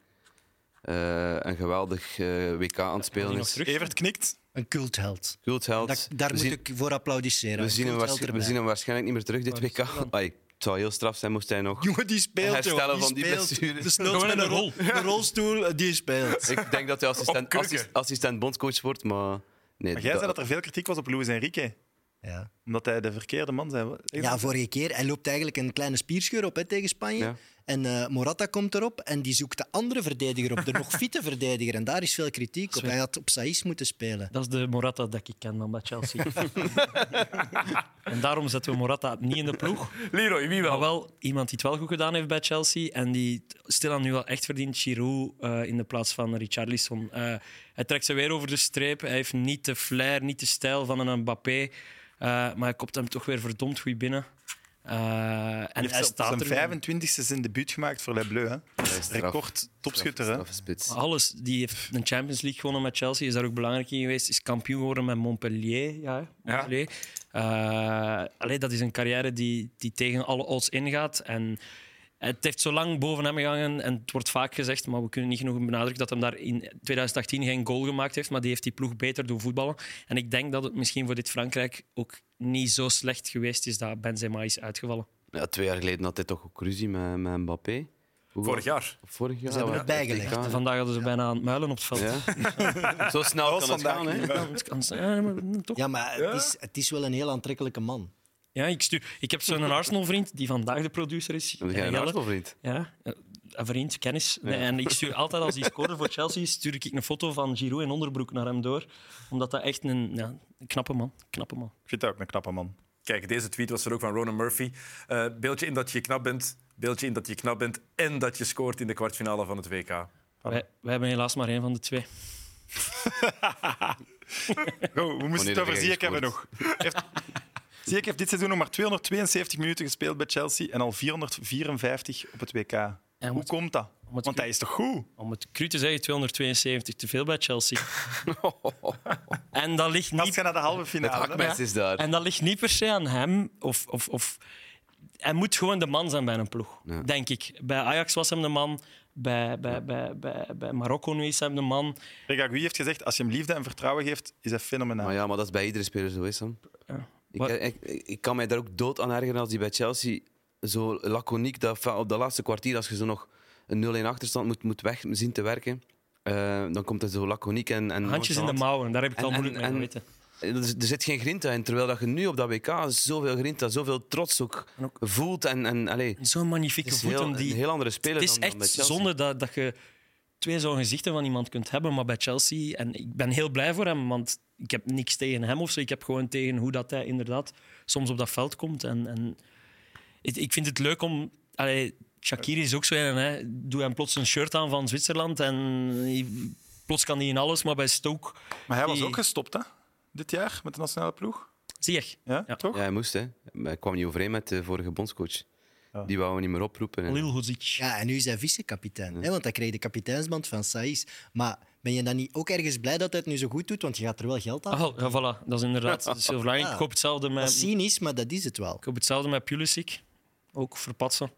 eh, een geweldig eh, WK aan het Die spelen nog is. terug? Evert knikt. Een cultheld. Cultheld. Dat, daar We moet zien- ik voor applaudisseren. we Een zien, hem cultheld waarsch- we erbij. zien hem waarschijnlijk niet meer terug dit WK. Ai, het zou heel straf zijn moest hij nog... Jongen, die speelt, Herstellen joh. van die speelt. blessure. Dus noods Gewoon met in een de rol. De rolstoel, eh, die speelt. Ik denk dat hij Op assistent, kurken. assist- assistent bondscoach wordt, maar... Nee, Maar jij zei dat er veel kritiek was op Luis Enrique, Ja. omdat hij de verkeerde man zei. ja, vorige keer. Hij loopt eigenlijk een kleine spierscheur op hè, tegen Spanje. Ja. En eh, Morata komt erop en die zoekt de andere verdediger op. De nog fitte verdediger. En daar is veel kritiek op. Hij had op Saïs moeten spelen. Dat is de Morata dat ik ken dan bij Chelsea. en daarom zetten we Morata niet in de ploeg. Leroy, wie Maar wel? Nou, wel iemand die het wel goed gedaan heeft bij Chelsea en die het stilaan nu wel echt verdient, Giroud eh, in de plaats van Richarlison. Eh, hij trekt ze weer over de streep. Hij heeft niet de flair, niet de stijl van een Mbappé, Eh, maar hij kopt hem toch weer verdomd goed binnen. Eh, Hij en hij heeft op staat er. zijn 25e zijn debuut gemaakt voor Le Bleu. Hè. straf. Record topschutter. Hè. spits. Alles. Die heeft een Champions League gewonnen met Chelsea, is daar ook belangrijk in geweest. Is kampioen geworden met Montpellier. Ja, hè, Montpellier. Eh, allee, dat is een carrière die, die tegen alle odds ingaat. En het heeft zo lang boven hem gehangen. En het wordt vaak gezegd, maar we kunnen niet genoeg benadrukken dat hem daar in 2018 geen goal gemaakt heeft. Maar die heeft die ploeg beter doen voetballen. En ik denk dat het misschien voor dit Frankrijk ook niet zo slecht geweest is dat Benzema is uitgevallen. Ja, twee jaar geleden had hij toch ook ruzie met, met Mbappé. Hoe Vorig was- jaar. Vorig jaar. Ze hebben ja, het bijgelegd. ja. En vandaag hadden ze bijna aan het muilen op het veld. Ja. Zo snel Dat was kan het gaan, vandaag hè. niet. Ja, het kan zijn, maar toch. Ja, maar het is, het is wel een heel aantrekkelijke man. Ja, ik, stuur, ik heb zo'n Arsenal-vriend die vandaag de producer is. Heb Eh, jij een Jelle. Arsenal-vriend? Ja, eh, een vriend, kennis. Nee, en ik stuur altijd als hij scoorde voor Chelsea, stuur ik een foto van Giroud in onderbroek naar hem door. Omdat dat echt een, ja, een knappe man, knappe man. Ik vind dat ook een knappe man. Kijk, deze tweet was er ook van Ronan Murphy. Eh, beeldje in dat je knap bent, beeldje in dat je knap bent en dat je scoort in de kwartfinale van het WK. Ah. Wij, wij hebben helaas maar één van de twee. Go, we moesten Wanneer het over heb jij Ziyech hebben nog. gescoord? Heeft, Ziyech heeft dit seizoen nog maar 272 minuten gespeeld bij Chelsea en al 454 op het WK. Hoe moet- komt dat? moet- Want hij is toch goed? Om het cru te zeggen, 272 te veel bij Chelsea. en dat ligt Als niet je naar de halve Het finale. hè? hakmes is daar. En dat ligt niet per se aan hem. Of, of, of... Hij moet gewoon de man zijn bij een ploeg, Ja. denk ik. Bij Ajax was hem de man. Bij, bij, bij, bij, bij Marokko nu is hem de man. Reguagui heeft gezegd, als je hem liefde en vertrouwen geeft, is hij fenomenaal. Maar ja, maar dat is bij iedere speler zo, is Sam. Ja. Ik, Maar- ik, ik kan mij daar ook dood aan ergeren als die bij Chelsea zo laconiek dat, fa- op dat laatste kwartier, als je zo nog een 0-1 achterstand moet, moet weg zien te werken, eh, dan komt het zo laconiek en, en Handjes in de nonchalant. mouwen, daar heb ik En- al en- moeilijk mee en- weten. Er Eh, er zit geen grinta in, terwijl dat je nu op dat WK zoveel grinta, zoveel trots ook, En ook- voelt. En, en allee, Zo'n magnifieke het is voeten. heel, die... een heel andere speler Het is dan, dan bij echt Chelsea. zonde dat, dat je twee zo'n gezichten van iemand kunt hebben, maar bij Chelsea... En ik ben heel blij voor hem, want ik heb niks tegen hem of zo. Ik heb gewoon tegen hoe dat hij inderdaad soms op dat veld komt. En, en ik, ik vind het leuk om... Allee, Shakiri is ook zo een, hè. Doe hem plots een shirt aan van Zwitserland en... hij- Plots kan hij in alles, maar bij Stoke... Maar hij was die- ook gestopt, hè? Dit jaar met de nationale ploeg. Zie je, Ja, Ja. toch? Ja, hij moest, hè. Maar Hij kwam niet overeen met de vorige bondscoach. Die wou hem niet meer oproepen. En... Lil Hozic. Ja, en nu is hij vice-kapitein. hè, Want hij kreeg de kapiteinsband van Saïs. Maar ben je dan niet ook ergens blij dat hij het nu zo goed doet? Want je gaat er wel geld aan. Ah, wel, ja, voilà. Dat is inderdaad dat is heel belangrijk. Ah. Ja. Ik hoop hetzelfde Dat met... is cynisch, maar dat is het wel. Ik hoop hetzelfde met Pulisic. Ook verpatsen.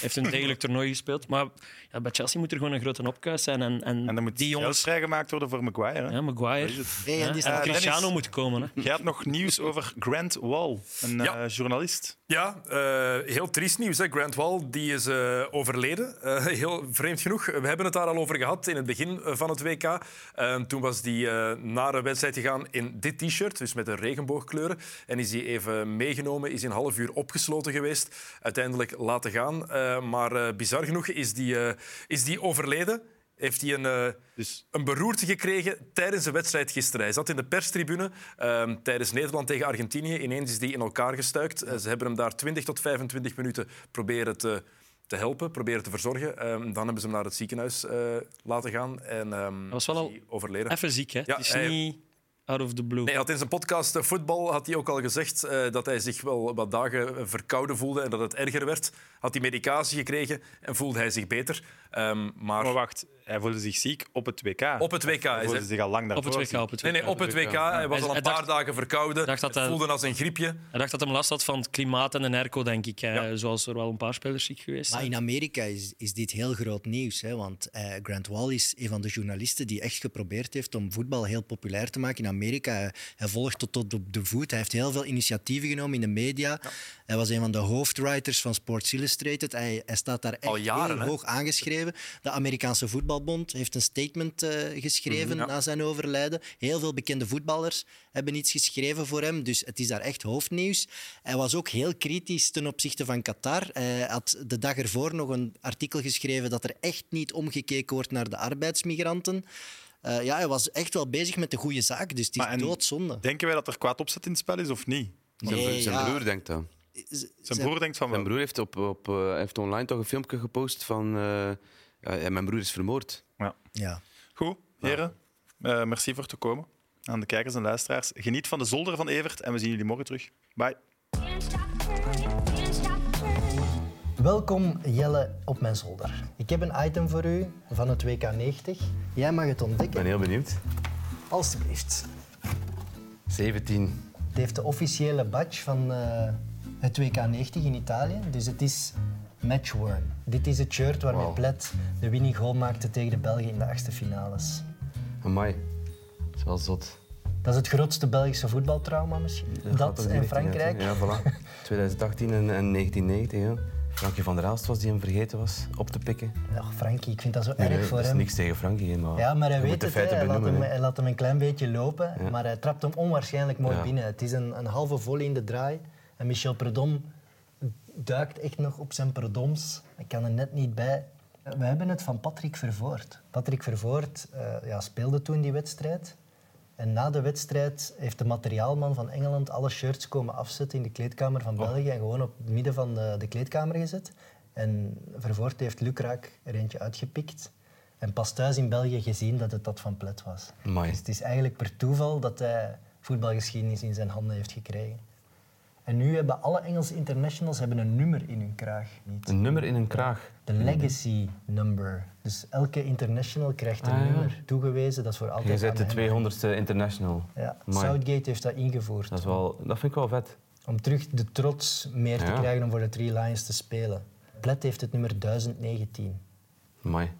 Heeft een degelijk toernooi gespeeld. Maar ja, bij Chelsea moet er gewoon een grote opkuis zijn. En, en, En dan moet die jongens... vrijgemaakt worden voor Maguire. Hè? Ja, Maguire. Hey, en Ja, die en staat- Eh, Cristiano Dennis. moet komen. Hè. Jij had nog nieuws over Grant Wall, een Ja. eh, journalist. Ja, eh, heel triest nieuws. Hè. Grant Wall die is eh, overleden. Eh, heel vreemd genoeg. We hebben het daar al over gehad in het begin eh, van het WK. Eh, toen was hij naar een wedstrijd gegaan in dit t-shirt, dus met de regenboogkleuren. En is hij even meegenomen, is een half uur opgesloten geweest. Uiteindelijk laten gaan. Eh, maar eh, bizar genoeg is die, eh, is die overleden. Heeft hij een... eh, Dus een beroerte gekregen tijdens de wedstrijd gisteren. Hij zat in de perstribune ehm, tijdens Nederland tegen Argentinië. Ineens is die in elkaar gestuikt. Eh, ze hebben hem daar 20 tot 25 minuten proberen te, te helpen, proberen te verzorgen. Ehm, dan hebben ze hem naar het ziekenhuis eh, laten gaan. En ehm, was wel is al hij overleden. Even ziek, hè. Ja, het is hij- niet out of the blue. Nee, hij had in zijn podcast eh, Voetbal had hij ook al gezegd eh, dat hij zich wel wat dagen eh, verkouden voelde en dat het erger werd. Had hij medicatie gekregen en voelde hij zich beter. Ehm, maar Maar wacht, hij voelde zich ziek op het WK. op het WK hij is voelde hij- zich al lang op daarvoor het WK, ziek. op het WK. Nee, nee, op het WK. Hij was Hij- al hij een dacht- paar dagen verkouden. dacht dat het hij- voelde als een griepje. Hij dacht dat hij last had van het klimaat en de airco, denk ik. hè. Ja. Zoals er wel een paar spelers ziek geweest Maar zijn. in Amerika is, is dit heel groot nieuws. Hè? Want eh, Grant Wall is een van de journalisten die echt geprobeerd heeft om voetbal heel populair te maken in Amerika. Hij, hij volgt tot tot op de voet. Hij heeft heel veel initiatieven genomen in de media. Hij was een van de hoofdwriters van Sports Illustrated. Hij, hij staat daar echt Al jaren, heel hè? hoog aangeschreven. De Amerikaanse Voetbalbond heeft een statement eh, Mhm, geschreven na zijn overlijden. Heel veel bekende voetballers hebben iets geschreven voor hem. Dus het is daar echt hoofdnieuws. Hij was ook heel kritisch ten opzichte van Qatar. Hij had de dag ervoor nog een artikel geschreven dat er echt niet omgekeken wordt naar de arbeidsmigranten. Eh, ja, hij was echt wel bezig met de goede zaak. Dus het is Maar en- doodzonde. Denken wij dat er kwaad opzet in het spel is of niet? Zijn, broer, Nee, Dus zijn ja. broer denkt dat. Zijn broer denkt van wel. Mijn broer heeft, op, op, eh, heeft online toch een filmpje gepost van... eh, ja, ja, mijn broer is vermoord. Ja. Goed, heren. eh, merci voor te komen. Aan de kijkers en luisteraars. Geniet van de zolder van Evert en we zien jullie morgen terug. Bye. Can't stop learning, can't stop learning. Welkom Jelle op mijn zolder. Ik heb een item voor u van het WK90. Jij mag het ontdekken. heel benieuwd. Alsjeblieft. 17. Het heeft de officiële badge van eh, het WK90 in Italië. Dus het is matchworn. Dit is het shirt waarmee Wauw. Plet de winning goal maakte tegen de Belgen in de achtste finales. Amai. Dat is wel zot. Dat is het grootste Belgische voetbaltrauma misschien. Ja, gaat dat die en richting uit, hè. Frankrijk. Ja, voilà. 2018 en, en 1990. Ja. Frankie van der Elst was die hem vergeten was op te pikken. Ach, Frankie, ik vind dat zo Nee, erg nee, voor dat is hem. niks tegen Frankie, hè, maar, Ja, maar hij je weet moet de het. hè. feiten Hij, laat benoemen. hem, hè. hij laat hem een klein beetje lopen, Ja. maar hij trapt hem onwaarschijnlijk mooi Ja. binnen. Het is een, een halve volley in de draai. En Michel Predom duikt echt nog op zijn Predoms. Hij kan er net niet bij. We hebben het van Patrick Vervoort. Patrick Vervoort eh, ja, speelde toen die wedstrijd. En na de wedstrijd heeft de materiaalman van Engeland alle shirts komen afzetten in de kleedkamer van Oh. België en gewoon op het midden van de, de kleedkamer gezet. En Vervoort heeft Lukraak er eentje uitgepikt. En pas thuis in België gezien dat het dat van Plet was. Amai. Dus het is eigenlijk per toeval dat hij voetbalgeschiedenis in zijn handen heeft gekregen. En En nu hebben alle Engelse internationals hebben een nummer in hun kraag. Niet. Een nummer in een kraag. De legacy number. Dus elke international krijgt een Ah, ja. nummer toegewezen. Dat is voor Je altijd bent aan de hen. 200ste international. Ja, Amai. Southgate heeft dat ingevoerd. Dat, is wel, dat vind ik wel vet. Om terug de trots meer te Ja. krijgen om voor de Three Lions te spelen. Plet heeft het nummer 1019. Amai.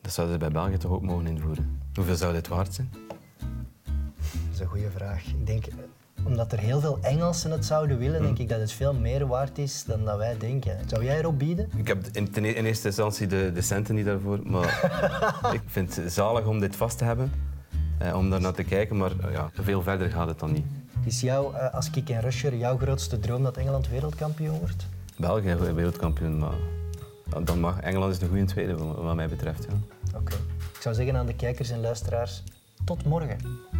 Dat zouden ze bij België toch ook mogen invoeren. Hoeveel zou dit waard zijn? Dat is een goede vraag. Ik denk, eh, omdat er heel veel Engelsen het zouden willen, denk ik dat het veel meer waard is dan dat wij denken. Zou jij erop bieden? Ik heb in, ten e- in eerste instantie de, de centen niet daarvoor, maar ik vind het zalig om dit vast te hebben. eh, om daar naar te kijken, maar eh, ja, veel verder gaat het dan niet. Is jou, eh, als kick en rusher jouw grootste droom dat Engeland wereldkampioen wordt? België wordt wereldkampioen, maar ja, dan mag Engeland is de goede tweede, wat wat mij betreft. Ja. Oké. Ik zou zeggen aan de kijkers en luisteraars, tot morgen.